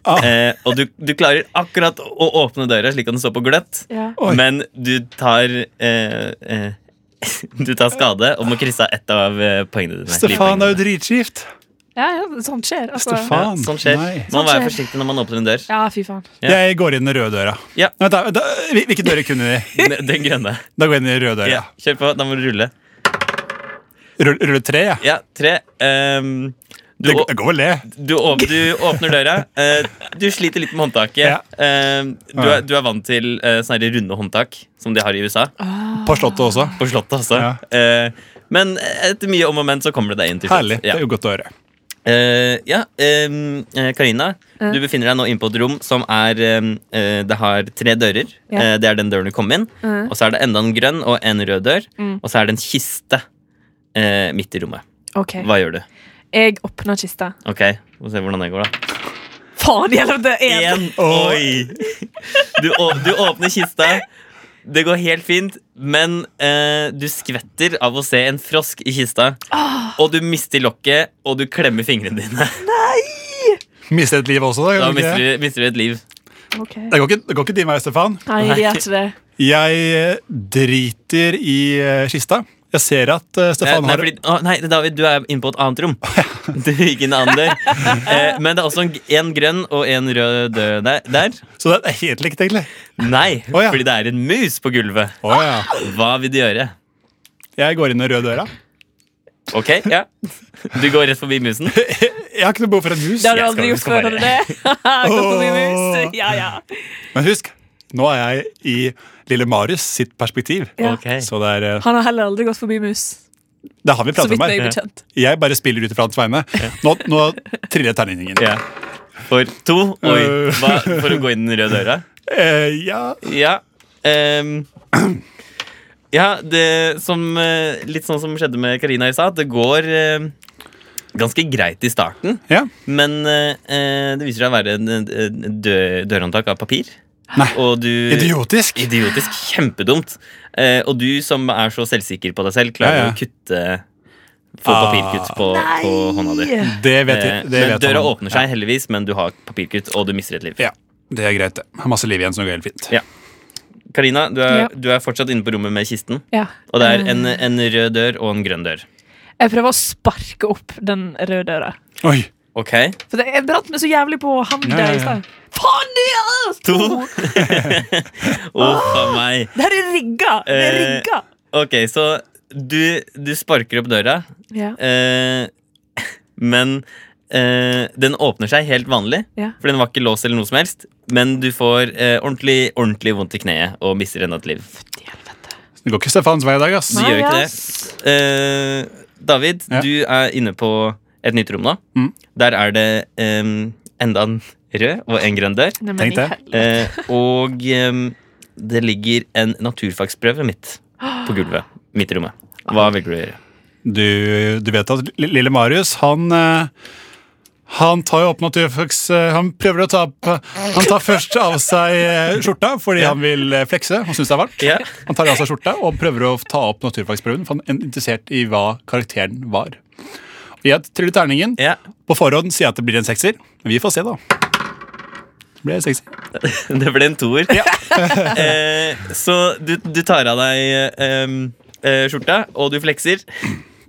S3: Ah.
S4: Eh, og du, du klarer akkurat å åpne døra slik at den står på gløtt,
S5: Ja.
S3: Oi.
S4: men du tar eh, eh, Du tar skade og må krysse av ett av eh, poengene dine.
S3: Stefan er jo
S4: livpoengene dine.
S3: dritskift.
S5: Ja, ja, sånt skjer. Altså.
S3: Stefan.
S4: Ja, sånn skjer.
S3: Nei.
S4: Man må være
S5: Sånn skjer.
S4: forsiktig når man åpner en dør.
S5: Ja, fy faen.
S4: Ja.
S3: Jeg går inn den røde døra.
S4: Ja.
S3: Nei, Vent, da, vent da, hvil- hvilke dører kunne vi?
S4: Den, den grønne.
S3: Da går jeg inn i den røde døra.
S4: Ja, kjør på. Da må du rulle.
S3: Rull, rulle tre, ja.
S4: Ja, tre. Ehm, Du, å-
S3: Det går vel, det.
S4: du, åp- du åpner døra. eh, du sliter litt med håndtaket.
S3: Ja.
S4: Eh, du, er, du er vant til eh, sånne her runde håndtak som de har i USA.
S5: Ah.
S3: På Slottet også.
S4: På Slottet, altså.
S3: Ja.
S4: Eh, men etter mye om og men så kommer du deg inn. til slutt.
S3: Herlig. Det
S4: Ja.
S3: er jo godt å høre.
S4: Eh, ja, ehm, eh, Karina,
S5: Ja.
S4: du befinner deg nå inne på et rom som er ehm, eh, Det har tre dører.
S5: Ja.
S4: Eh, det er den døren du kom inn.
S5: Ja.
S4: Og så er det enda en grønn og en rød dør.
S5: Mm.
S4: Og så er det en kiste eh, midt i rommet.
S5: OK.
S4: Hva gjør du?
S5: Jeg åpner kista.
S4: Ok, Vi får se hvordan det går, da.
S5: Faen, gjelder det én?
S4: En. Oi! Du, å- du åpner kista. Det går helt fint, men eh, du skvetter av å se en frosk i kista.
S3: Ah.
S4: Og du mister lokket, og du klemmer fingrene dine.
S3: Mister et liv også, da.
S4: Da
S3: gjør du ikke
S4: mister
S3: det?
S4: du, mister du et liv.
S5: Ok.
S3: Det går ikke, det går ikke din vei, Stefan.
S5: Nei, det gjør ikke det.
S3: Jeg eh, driter i eh, kista. Jeg ser at eh,
S4: Nei,
S3: Stefan
S4: nei,
S3: har
S4: fordi, å, nei, David, du er inne på et annet rom. Du gikk inn i en annen dør. Eh, men det er også en, g- en grønn og en rød dør der. der.
S3: Så det er helt likt, egentlig.
S4: Nei,
S3: Å, ja.
S4: fordi det er en mus på gulvet.
S3: Å, ja.
S4: Hva vil du gjøre?
S3: Jeg går inn den røde døra.
S4: Ok, ja Du går rett forbi musen.
S3: Jeg har ikke noe behov for en mus.
S5: Det har du
S4: Jeg skal-
S5: aldri gjort
S4: skal
S5: før, har du det? Gått forbi mus.
S3: Åh.
S5: Ja, ja.
S3: Men husk, nå er jeg i lille Marius sitt perspektiv.
S5: Ja.
S4: Ok.
S3: Så det er eh,
S5: Han har heller aldri gått forbi mus.
S3: Det har vi
S5: Så
S3: pratet
S5: vidt
S3: om
S5: jeg er
S3: her.
S5: bekjent.
S3: Jeg bare spiller ut ifra hans vegne. Nå, nå triller terningen.
S4: Ja. For to Oi,
S3: Øh.
S4: hva, for å gå inn den røde døra?
S3: Eh, ja.
S4: Ja. ehm, ja, det som eh, Litt sånn som skjedde med Karina i stad. at Det går eh, ganske greit i starten.
S3: ja.
S4: Men eh, eh, det viser seg å være en, en, en dø, dørhåndtak av papir.
S3: Nei.
S4: Og du,
S3: Idiotisk.
S4: Idiotisk. Kjempedumt. Eh, og du som er så selvsikker på deg selv,
S3: Ja,
S4: klarer
S3: ja.
S4: å kutte Få
S3: Ah.
S4: papirkutt på, på hånda di.
S3: Det vet
S4: Eh,
S3: jeg. Det
S4: men
S3: vet
S4: døra
S3: han.
S4: åpner seg heldigvis, men du har papirkutt, og du mister et liv.
S3: Ja. Det er greit, det. Har masse liv igjen, så det går helt fint.
S4: Ja. Karina, du er,
S5: Ja. Eh.
S4: du er fortsatt inne på rommet med kisten.
S5: Ja.
S4: Og det er en, en rød dør og en grønn dør.
S5: Jeg prøver å sparke opp den røde døra.
S3: Oi.
S4: Ok
S5: For det- jeg brant meg så jævlig på handa
S3: Ja, ja, ja.
S5: i stad. Faen, det er to!
S4: Uff a meg.
S5: Det her er rigga! Det er
S4: Eh,
S5: rigga!
S4: Ok, så du, du sparker opp døra,
S5: Ja.
S4: Eh, men eh, den åpner seg helt vanlig,
S5: Ja.
S4: for den var ikke låst eller noe som helst. Men du får eh, ordentlig, ordentlig vondt i kneet og mister enda et liv.
S3: Det går ikke Stefans vei i dag, ass.
S4: Du gjør ikke det. Eh, David,
S3: Ja.
S4: du er inne på et nytt rom nå.
S3: Mm.
S4: Der er det em, enda en rød og en grønn dør.
S5: Nei, men
S3: Tenk
S5: i
S3: det.
S5: helvete.
S4: Eh, og em, det ligger en naturfagsprøve midt på gulvet. Midt i rommet. Hva velger du å gjøre?
S3: Du, du vet at li- lille Marius, han eh, Han tar jo opp naturfags eh, Han prøver å ta opp Han tar først av seg eh, skjorta fordi han vil eh, flekse. Han syns det er varmt.
S4: Ja.
S3: Han tar av seg skjorta og prøver å ta opp naturfagsprøven, for han er interessert i hva karakteren var. Og Jeg triller terningen.
S4: Ja.
S3: På forhånd sier jeg at det blir en sekser. Vi får se, da. Det blir en sekser.
S4: Det ble en toer. eh, så du, du tar av deg em, eh, skjorta, og du flekser.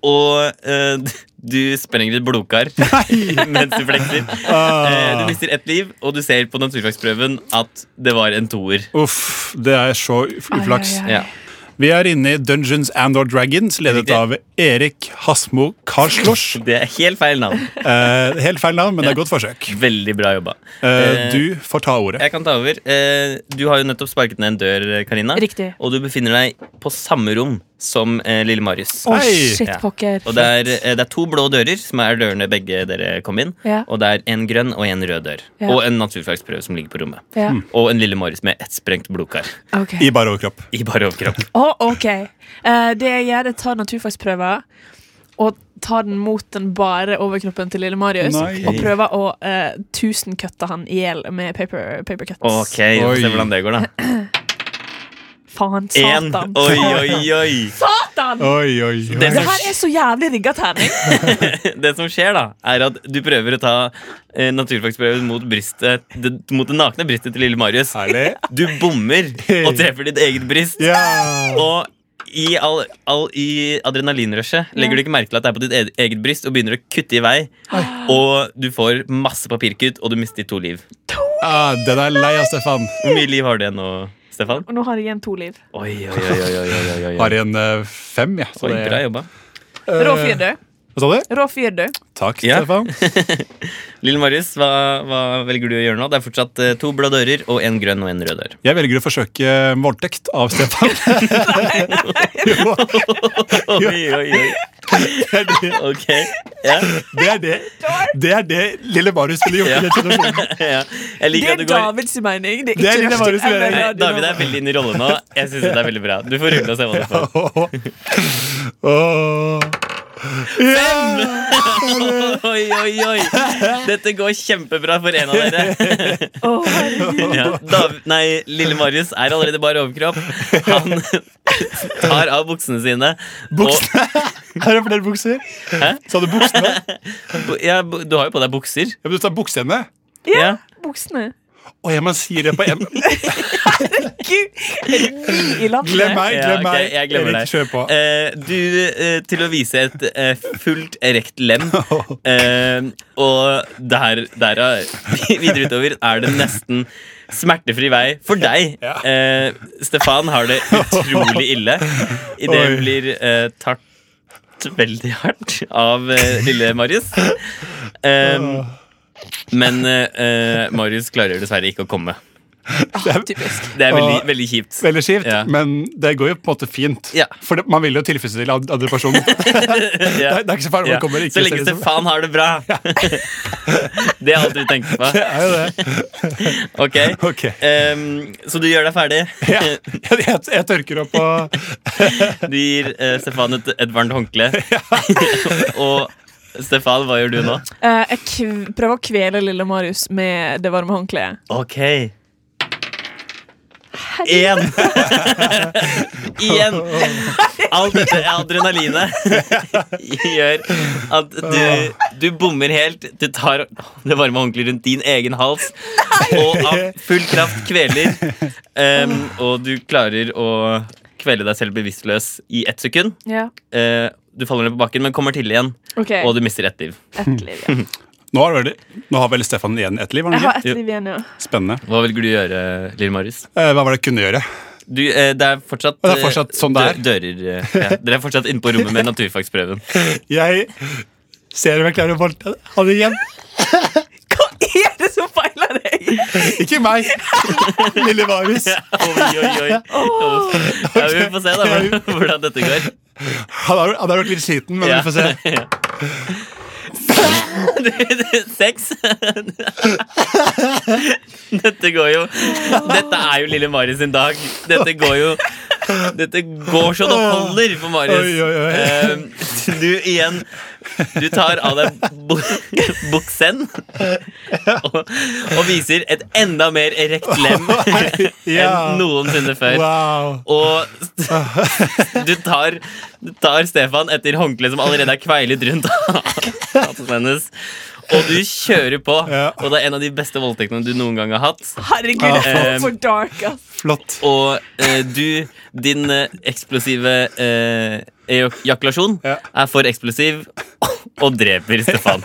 S4: Og eh, du sprenger et blodkar mens du flekser. Eh, du mister ett liv, og du ser på naturfagsprøven at det var en toer.
S3: Uff, det er så uf- uflaks.
S5: Ai, ai, ai.
S4: Ja.
S3: Vi er inne i Dungeons and or Dragons, ledet
S4: Riktig.
S3: av Erik Hasmo Karslosj.
S4: Det er helt feil navn.
S3: Eh, helt feil navn, men det er godt forsøk.
S4: Veldig bra jobba.
S3: Eh,
S4: Eh,
S3: du får ta ordet.
S4: Jeg kan ta over. Eh, du har jo nettopp sparket ned en dør, Karina.
S5: Riktig.
S4: Og du befinner deg på samme rom som eh, lille Marius.
S5: Å,
S3: Hei.
S5: shit
S4: Ja.
S5: pokker.
S4: Og det er, eh, det er to blå dører, som er dørene begge dere kom inn.
S5: Ja.
S4: Og det er en grønn og en rød dør.
S5: Ja.
S4: Og en naturfagsprøve som ligger på rommet.
S5: Ja.
S4: Og en lille Marius med ett sprengt blodkar
S5: Ok.
S3: I bare overkropp.
S4: Hmm. i bare overkropp.
S5: Å, ok. Eh, det jeg gjør, er å ta naturfagsprøver og ta den mot den bare overkroppen til lille Marius.
S3: Nei.
S5: Og prøver å eh, tusenkutte han i hjel med paper, paper cuts.
S4: Ok, vi får se
S3: Oi.
S4: hvordan det går, da.
S5: Faen,
S4: En.
S5: satan.
S4: Oi, oi, oi.
S5: Satan!
S3: Oi, oi, oi.
S4: Det
S5: Det
S4: som,
S5: her er så jævlig rigga terning.
S4: det som skjer, da, er at du prøver å ta eh, naturfagsprøven mot brystet det, mot det nakne brystet til lille Marius.
S3: Herlig.
S4: Du bommer og treffer ditt eget bryst.
S3: Ja.
S4: Og i, all, all, i adrenalinrushet legger du ikke merke til at det er på ditt e- eget bryst, og begynner å kutte i vei. Og du får masse papirkutt, og du mister to liv.
S3: Ah, den er lei av Stefan.
S4: Hvor mye liv har du igjen nå, Stefan?
S5: Og nå har jeg igjen to liv.
S4: Oi, oi, oi, oi, oi, oi, oi, oi.
S3: Har en eh, fem, ja. Så
S4: Oi,
S3: det- Eh,
S4: bra jobba.
S5: Råfyr, du.
S3: Hva sa du?
S5: Rå fyr, du.
S3: Takk,
S4: Ja.
S3: Stefan.
S4: Lille Marius, hva, hva velger du å gjøre nå? Det er fortsatt eh, to blå dører og en grønn og en rød dør.
S3: Jeg velger å forsøke voldtekt av Stefan. jo,
S4: Oi, oi, oi.
S3: det er det.
S4: Ok. Ja,
S3: Det er det, det, er det lille Marius ville gjort. i den situasjonen.
S4: ja. Jeg
S5: Det
S4: liker at
S5: er
S4: du går
S5: Davids mening. Det er
S3: Det er
S5: ikke
S3: Lille Marius
S5: Martin
S3: mening.
S5: eller
S4: Nei,
S5: Radio
S4: David er
S5: Nova.
S4: veldig inn i rollen nå. Jeg synes det er veldig bra. Du får rulle og se hva du får.
S3: Åh. Ja!
S4: Oi, oi, oi. Dette går kjempebra for en av dere.
S5: Å, herregud.
S4: Ja. Dav nei, lille Marius er allerede bare overkropp. Han tar av buksene sine.
S3: Buksene? Her er flere bukser.
S4: Hæ?
S3: Sa du buksene?
S4: Og, bu- ja, bu- du har jo på deg bukser.
S3: Ja, men du sa buksene.
S4: Ja.
S5: Buksene.
S3: Å, ja, man sier det på en
S5: Gud, er du ny i landet?
S3: Glem meg,
S4: Ja,
S3: glem
S4: ok,
S3: meg.
S4: jeg glemmer
S3: Erik,
S4: deg.
S3: kjør på.
S4: Eh, du, eh, til å vise et eh, fullt erekt lem
S3: Oh.
S4: eh, Og der, derav videre utover er det nesten smertefri vei for deg.
S3: Ja.
S4: Eh, Stefan har det utrolig ille
S3: Oi.
S4: idet det blir eh, tatt veldig hardt av eh, lille Marius. Eh,
S3: Ah.
S4: men eh, eh, Marius klarer dessverre ikke å komme.
S5: Ah, typisk.
S4: Det er veldig,
S3: Åh.
S4: veldig kjipt.
S3: Veldig kjipt,
S4: Ja.
S3: men det går jo på en måte fint.
S4: Ja.
S3: For det, man vil jo tilfredsstille an- andre personer.
S4: Ja.
S3: Det er ikke så farlig om
S4: Ja.
S3: man kommer ikke
S4: Så lenge
S3: ser det som-
S4: Stefan har det bra. det er alt vi tenker på.
S3: Det er jo det.
S4: Ok,
S3: Ok.
S4: Ehm, Så du gjør deg ferdig.
S3: Ja, jeg, jeg, jeg tørker opp og
S4: Du gir eh, Stefan et, et varmt håndkle. Og Stefan, hva gjør du nå?
S5: Eh, jeg kv prøver å kvele lille Marius med det varme håndkleet.
S4: Ok Én. Igjen. Alt dette adrenalinet gjør at du, du bommer helt. Du tar det varme håndkleet rundt din egen hals og av full kraft kveler. Em, og du klarer å kvele deg selv bevisstløs i ett sekund.
S5: Ja.
S4: Eh, du faller ned på bakken, men kommer til igjen,
S5: Ok,
S4: og du mister ett liv.
S5: ett liv igjen.
S3: Nå har vel, nå har vel Stefan igjen ett liv? har han
S5: Jeg
S3: ikke?
S5: har ett liv igjen, ja.
S3: Spennende.
S4: Hva velger du å gjøre, Lille Marius?
S3: Eh, hva var det jeg kunne gjøre?
S4: Du, eh, det er fortsatt,
S3: Og det er
S4: eh,
S3: fortsatt sånn det
S4: dø- Dører, eh, ja. Dere er fortsatt inne på rommet med naturfagsprøven.
S3: Jeg ser om jeg klarer å voldta han igjen.
S5: Hva er det som feiler deg?
S3: Ikke meg, lille Marius.
S4: Oi, oi, oi. Ja, vi får se da hvordan- hvordan dette går.
S3: Han har, han har vært litt sliten, men
S4: Ja.
S3: vi får se.
S4: Sex. Dette går jo Dette er jo lille Marius sin dag. Dette går jo Dette går så det holder for Marius.
S3: Oi, oi, oi.
S4: Eh, Du igjen Du tar av deg bu- buksen og, og viser et enda mer erekt lem
S3: Ja.
S4: enn noensinne før.
S3: Wow.
S4: Og du tar, du tar Stefan etter håndkleet som allerede er kveilet rundt halsen hennes. Og du kjører på.
S3: Ja.
S4: Og det er en av de beste voldtektene du noen gang har hatt.
S5: Herregud,
S4: Ah.
S5: for dark, ass.
S3: Flott.
S4: Og eh, du, din eh, eksplosive eh, ejakulasjon
S3: Ja.
S4: er for eksplosiv og dreper Stefan.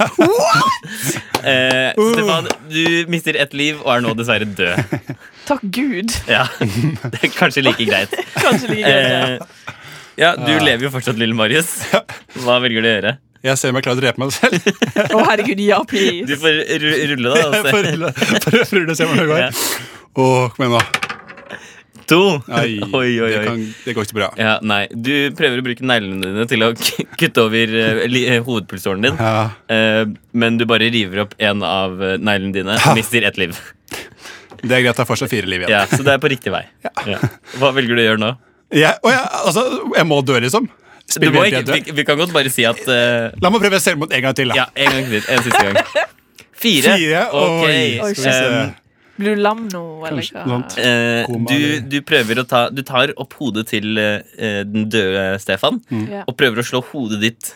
S4: Eh,
S3: Uh.
S4: Stefan, du mister ett liv og er nå dessverre død.
S5: Takk Gud.
S4: Ja, Det er kanskje like greit.
S5: Kanskje like greit.
S4: Eh, ja, du lever jo fortsatt, lille Marius. Hva velger du å gjøre?
S3: Jeg ser om jeg klarer å drepe meg selv.
S5: ja. Å, herregud, ja,
S4: Du
S5: please.
S4: får ru- rulle, da. altså. og
S3: For,
S4: se.
S3: for, for å se hvordan det
S4: Ja.
S3: går. Åh, kom igjen, da.
S4: To.
S3: Nei,
S4: Oi, oi,
S3: Det,
S4: oi.
S3: kan, det går ikke bra.
S4: Ja, nei, Du prøver å bruke neglene dine til å k- kutte over eh, li- eh, hovedpulsåren din,
S3: Ja.
S4: eh, men du bare river opp en av eh, neglene dine og mister ett liv.
S3: Det er greit, det er fortsatt fire liv igjen.
S4: Ja, Så det er på riktig vei. Ja. Hva velger du å gjøre nå?
S3: Jeg, å, jeg, altså, jeg må dø, liksom.
S4: Du
S3: Spiller
S4: må
S3: vi helt
S4: ikke,
S3: til jeg
S4: vi, vi kan godt bare si at eh,
S3: dør? La meg prøve selvmord en gang til, da.
S4: Ja, en gang til. En siste gang. Fire.
S3: Fire.
S4: Ok. Ehm,
S3: Oi, skal vi se.
S4: Em,
S5: Blir du lam nå, eller
S3: Kanskje
S5: hva?
S3: blant-
S4: Eh,
S3: Koma,
S4: du,
S3: eller-
S4: du prøver å ta Du tar opp hodet til eh, eh, den døde Stefan
S3: Mm.
S5: Ja.
S4: og prøver å slå hodet ditt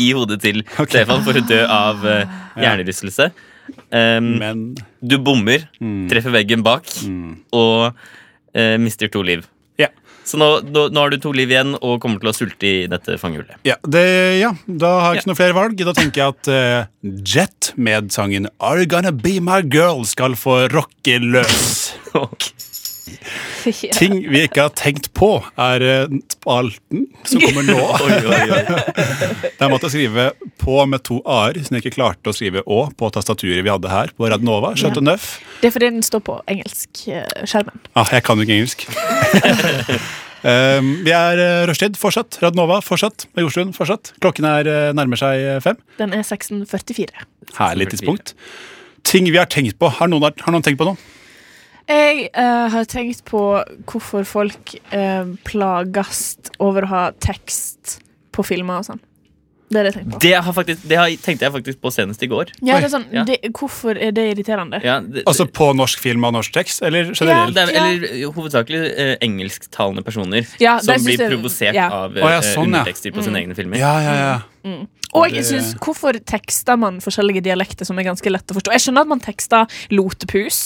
S4: i hodet til Stefan for å dø av eh, hjernerystelse. Em,
S3: Men Mm.
S4: du bommer, treffer veggen bak og eh, mister to liv.
S3: Ja.
S4: Så nå, nå, nå har du to liv igjen og kommer til å sulte i dette fangehullet.
S3: ja, det, ja, da har jeg ikke noe flere valg. Da tenker jeg at eh, Jet med sangen Are You Gonna Be My Girl skal få rocke løs.
S4: Ok.
S3: Ting vi ikke har tenkt på, er eh, spalten som kommer nå. Der måtte jeg skrive 'på' med to a-er, siden jeg ikke klarte å skrive 'å' på tastaturet vi hadde her på Radnova. Skjønte nøff.
S5: Det er fordi den står på eh, engelskskjermen.
S3: Ah, jeg kan jo ikke engelsk. Um, vi er uh, rushtid fortsatt. Radnova fortsatt. Jorstuen fortsatt. Klokken er, eh, nærmer seg eh, fem.
S5: Den er 1644.
S3: Herlig tidspunkt. Ting vi har tenkt på. Har noen, har noen tenkt på noe?
S5: Jeg eh, har tenkt på hvorfor folk eh, plages over å ha tekst på filmer og sånn. Det er det jeg tenker på.
S4: Det, har faktisk, det har, tenkte jeg faktisk på senest i går.
S5: Ja, det er sånn,
S4: Ja.
S5: det, hvorfor er det irriterende?
S4: Ja, det,
S3: Altså på norsk film og norsk tekst, eller
S4: det,
S3: generelt?
S4: er, eller hovedsakelig eh, engelsktalende personer
S5: Ja, der
S4: som
S5: synes
S4: blir
S5: jeg-
S4: provosert
S5: ja. Mm.
S4: av eh,
S3: Å, ja, sånn, ja.
S4: undertekster på sine egne filmer.
S3: Ja, ja, ja.
S5: Og jeg synes, hvorfor tekster man forskjellige dialekter som er ganske lett å forstå? Jeg skjønner at man tekster lotepus,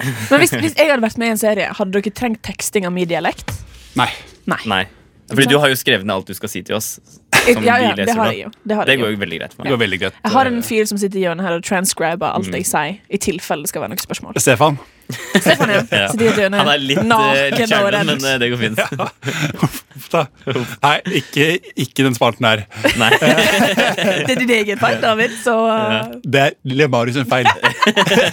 S5: men hvis, hvis jeg hadde vært med i en serie, hadde dere trengt teksting av min dialekt?
S3: Nei.
S5: Nei.
S4: Nei. Fordi du har jo skrevet ned alt du skal si til oss. Som
S5: ja, ja,
S4: vi
S5: det
S4: leser
S5: har
S4: nå.
S5: jeg jo. Det har
S4: Det
S5: jeg,
S4: går
S5: jo.
S4: jo veldig greit for
S3: Det
S4: meg.
S3: går veldig greit.
S5: jeg har en fyr som sitter i hjørnet her og transcriber
S4: Mhm.
S5: alt jeg sier, i tilfelle det skal være noe spørsmål.
S3: Stefan.
S5: Stefan, ja. Sitter i et hjørne,
S4: Han er litt, eh, litt
S5: naken og
S4: skjermen,
S5: redd.
S4: men eh, det går fint.
S3: Da. Nei, ikke, ikke den spalten her.
S4: Nei. eh,
S5: Det er din egen feil, David, så eh,
S3: Det er Lille Marius sin feil.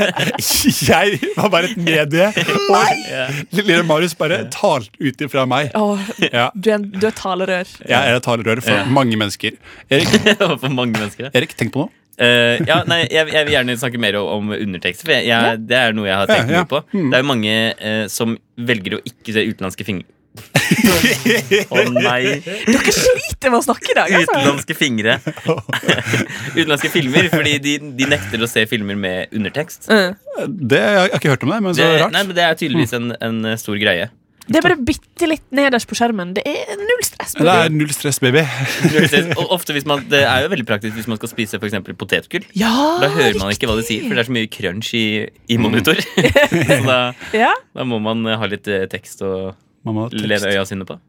S3: Jeg var bare et medie, og Lille Marius bare talte ut ifra meg.
S5: Åh,
S3: Ja,
S5: du, er en, du er et talerør.
S3: jeg er et talerør for mange mennesker. Erik,
S4: For mange mennesker.
S3: Erik, tenk på noe.
S4: Eh, ja, nei, jeg, jeg vil gjerne snakke mer om, om undertekster, for jeg, jeg, det er noe jeg har tenkt
S3: Ja, Mm. ja.
S4: mye på. Det er jo mange eh, som velger å ikke se utenlandske fingre. Å nei!
S5: Dere sliter med å snakke i dag. Altså.
S4: Utenlandske fingre. utenlandske filmer, fordi de, de nekter å se filmer med undertekst.
S5: Mm.
S3: Det, jeg har ikke hørt om det, men
S4: Det,
S3: så
S4: nei,
S3: rart.
S4: men det er tydeligvis en, en eh, stor greie.
S5: Det er bare bitte litt nederst på skjermen. Det er null stress.
S3: Det er null stress, baby.
S4: Og ofte hvis man, Det er jo veldig praktisk hvis man skal spise for eksempel potetgull.
S5: Ja,
S4: Da hører man ikke hva de sier, for det er så mye crunch i, i monitor. så da,
S5: Ja.
S4: da må man eh, ha litt eh, tekst å
S3: Mamma, tekst.
S4: lene øya sine på.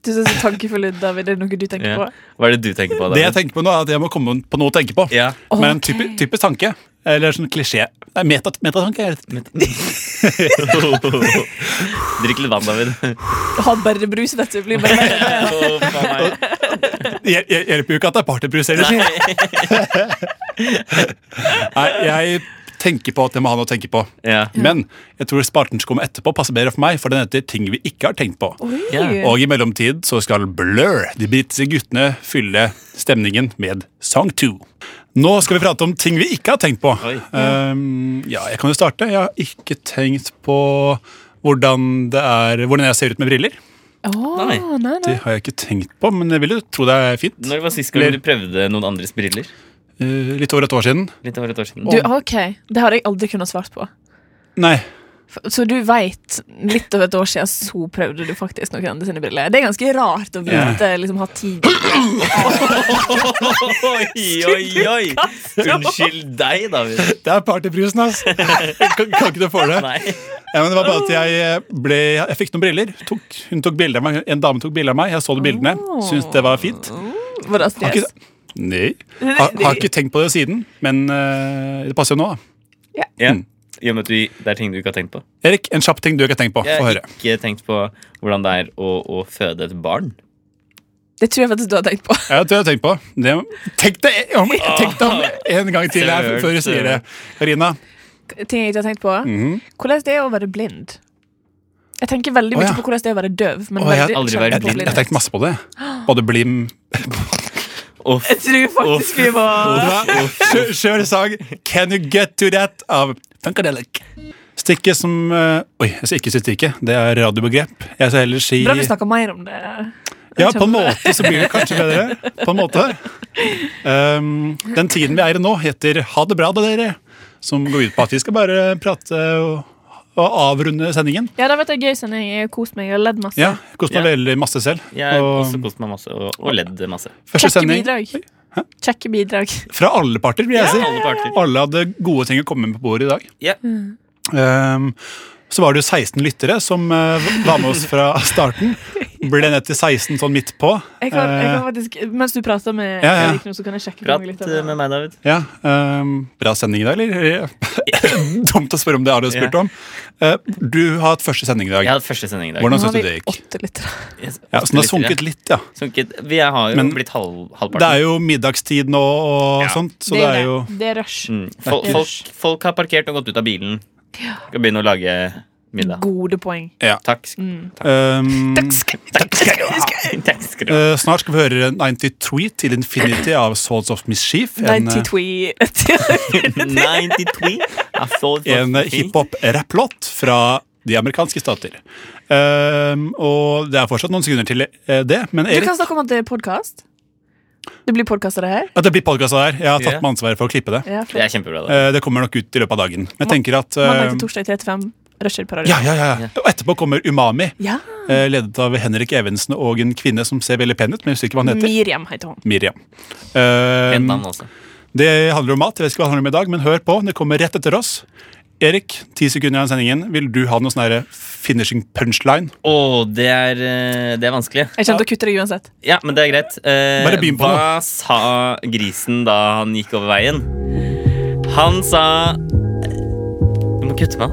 S5: Du ser så tankefull ut, David. Er det noe du tenker
S4: Ja.
S5: på?
S4: Hva er det du tenker på?
S3: Det jeg
S4: David?
S3: tenker på nå, er at jeg må komme på noe å tenke på.
S4: Ja.
S3: Men en typi, typisk tanke. Eller sånn klisjé. Nei, meta- metatanke. er det.
S4: Drikk litt vann, David.
S5: Ha bare brus, vet du. Blir bare verre.
S4: Å, faen meg.
S3: Hjel- hjel- Hjelper jo ikke at det er partybrus ellers. Nei, jeg tenker på at jeg må ha noe å tenke på.
S4: ja.
S3: Men jeg tror spalten som kommer etterpå, passer bedre for meg, for den heter Ting vi ikke har tenkt på.
S4: Ja.
S3: Og i mellomtid så skal Blur, de britiske guttene, fylle stemningen med Song 2. Nå skal vi prate om ting vi ikke har tenkt på.
S4: Oi.
S3: Um, ja, jeg kan jo starte. Jeg har ikke tenkt på hvordan, det er, hvordan jeg ser ut med briller.
S5: Åh,
S4: Nei.
S5: nei, nei.
S3: Det har jeg ikke tenkt på, men jeg vil jo tro det er fint.
S4: Når var sist gang du prøvde noen andres briller?
S3: Eh, litt over et år siden.
S4: Litt over et år siden.
S5: Du, ok, Det har jeg aldri kunnet svart på.
S3: Nei.
S5: F- Så du veit, litt over et år siden så prøvde du faktisk noen andre sine briller. Det er ganske rart å vite liksom, ha tid
S4: Oi, oi, oi! Unnskyld deg, David.
S3: Det er partybrusen, ass. kan, kan ikke du få det?
S4: Nei.
S3: Ja, men det var bare at jeg, eh, ble, jeg fikk noen briller. Tok, hun tok bilder av meg, En dame tok bilde av meg. Jeg så de bildene. Syntes det var fint.
S5: Var
S3: Har
S5: det Astrid S?
S3: ikke, nei. Har, har ikke tenkt på det siden, men eh, det passer jo nå. da.
S4: Ja.
S3: Mm.
S4: I og med at du, det er ting du ikke har tenkt på.
S3: Erik, en kjapp ting du ikke har tenkt på.
S4: Jeg
S3: Få
S4: har
S3: høre.
S4: ikke tenkt på hvordan det er å, å føde et barn.
S5: Det tror jeg faktisk du har tenkt på.
S3: Ja, det har jeg tenkt på. Det, tenk deg om, tenk deg om en gang til her før du sier det. Karina.
S5: Ting jeg ikke har tenkt på.
S3: mhm.
S5: Hvordan det er å være blind? Jeg tenker veldig mye
S3: Å, ja.
S5: på hvordan det er å være døv. Men
S3: Å, jeg har
S5: veldig
S4: aldri
S5: sjelden
S4: vært
S3: Jeg
S5: på
S4: blind.
S3: har
S5: blindhet.
S3: tenkt masse på det. Både blim
S4: Å, f-
S5: Jeg tror faktisk vi må
S3: Kjør kjør sang Can You Get To That av Funkadelic. Stikke som eh, Oi, jeg skal ikke si stikke. Det er radiobegrep. Jeg skal heller si
S5: Bra vi snakker mer om det.
S3: Ja, på en måte så blir det kanskje bedre. På en måte. Um, den tiden vi er i nå, heter Ha det bra, da, dere. Som går ut på at vi skal bare prate og, og avrunde sendingen.
S5: Ja, det har vært en gøy sending. Jeg har kost meg. Jeg har ledd masse.
S3: Ja, jeg koste meg veldig masse selv.
S4: Jeg har
S3: Og
S4: også kost meg masse og, og ledd masse.
S3: første
S5: Kjekke
S3: sending
S5: bidrag. Kjekke bidrag.
S3: fra alle parter, vil jeg si.
S4: Alle parter.
S3: Alle hadde gode ting å komme med på bordet i dag.
S4: Ja.
S3: Um, så var det jo 16 lyttere som eh, var med oss fra starten. Ble ned til 16 sånn midt på.
S5: Jeg kan, jeg kan
S3: Eh,
S5: faktisk, mens du prater med
S3: Ja, ja.
S5: Erik nå, så kan jeg sjekke
S4: Prat
S5: med litt.
S3: ehm,
S4: eh, med meg, David.
S3: ja, um, bra sending i dag, eller? dumt å spørre om det Ari har spurt om. Eh, Du har hatt første sending i dag.
S4: Jeg hadde første sending i dag.
S3: Hvordan
S5: Nå
S3: syns
S5: har
S3: du
S5: vi
S3: det gikk?
S5: åtte liter.
S4: Jeg-
S3: Ja, så den har
S4: åtte liter,
S3: sunket litt, ja.
S4: ja. Sunket. Vi har jo
S3: Men-
S4: blitt halv,
S3: Det er
S4: halvparten.
S3: jo middagstid nå og sånt, så det er jo
S8: det er rush.
S4: Mm. Folk, folk, folk har parkert og gått ut av bilen. Skal begynne å lage middag.
S5: Gode poeng.
S4: Takk. sk-
S3: ehm,
S4: Mm. Takk skal du ha. Takk skal du ha.
S3: eh, Snart skal vi høre 93 til Infinity av Swords of Mischief. En, eh,
S5: 92 E.
S4: 93. I thought it
S3: en
S4: was
S3: eh, hiphop-rapplåt fra de amerikanske stater. Ehm, og det er fortsatt noen sekunder til eh, det, men
S5: Du
S3: Erik
S5: kan snakke om at det er podkast. Det blir podkast av det her.
S3: At det blir podkast her. Jeg har tatt
S4: Ja.
S3: meg ansvaret for å klippe det.
S5: Ja,
S4: Det
S5: flott.
S4: er kjempebra. da.
S3: Eh, Det kommer nok ut i løpet av dagen. Men jeg tenker at eh,
S5: Mandag til torsdag 3-5. Rusher-parodi.
S3: ja, ja, ja. Og etterpå kommer Umami,
S5: Ja.
S3: eh, ledet av Henrik Evensen og en kvinne som ser veldig pen ut, men jeg husker ikke hva hun heter.
S5: Miriam heter hun.
S3: Miriam. Eh,
S4: Pent navn altså. også.
S3: det handler om mat, jeg vet ikke hva det handler om i dag, men hør på. Det kommer rett etter oss. Erik, ti sekunder igjen av sendingen. Vil du ha noe sånn her finishing punchline?
S4: Å, det er, eh, det er vanskelig.
S5: Jeg kommer til å kutte deg uansett.
S4: Ja, men det er greit. Eh,
S3: Bare begynn på
S4: hva sa grisen da han gikk over veien? Han sa Du må kutte meg.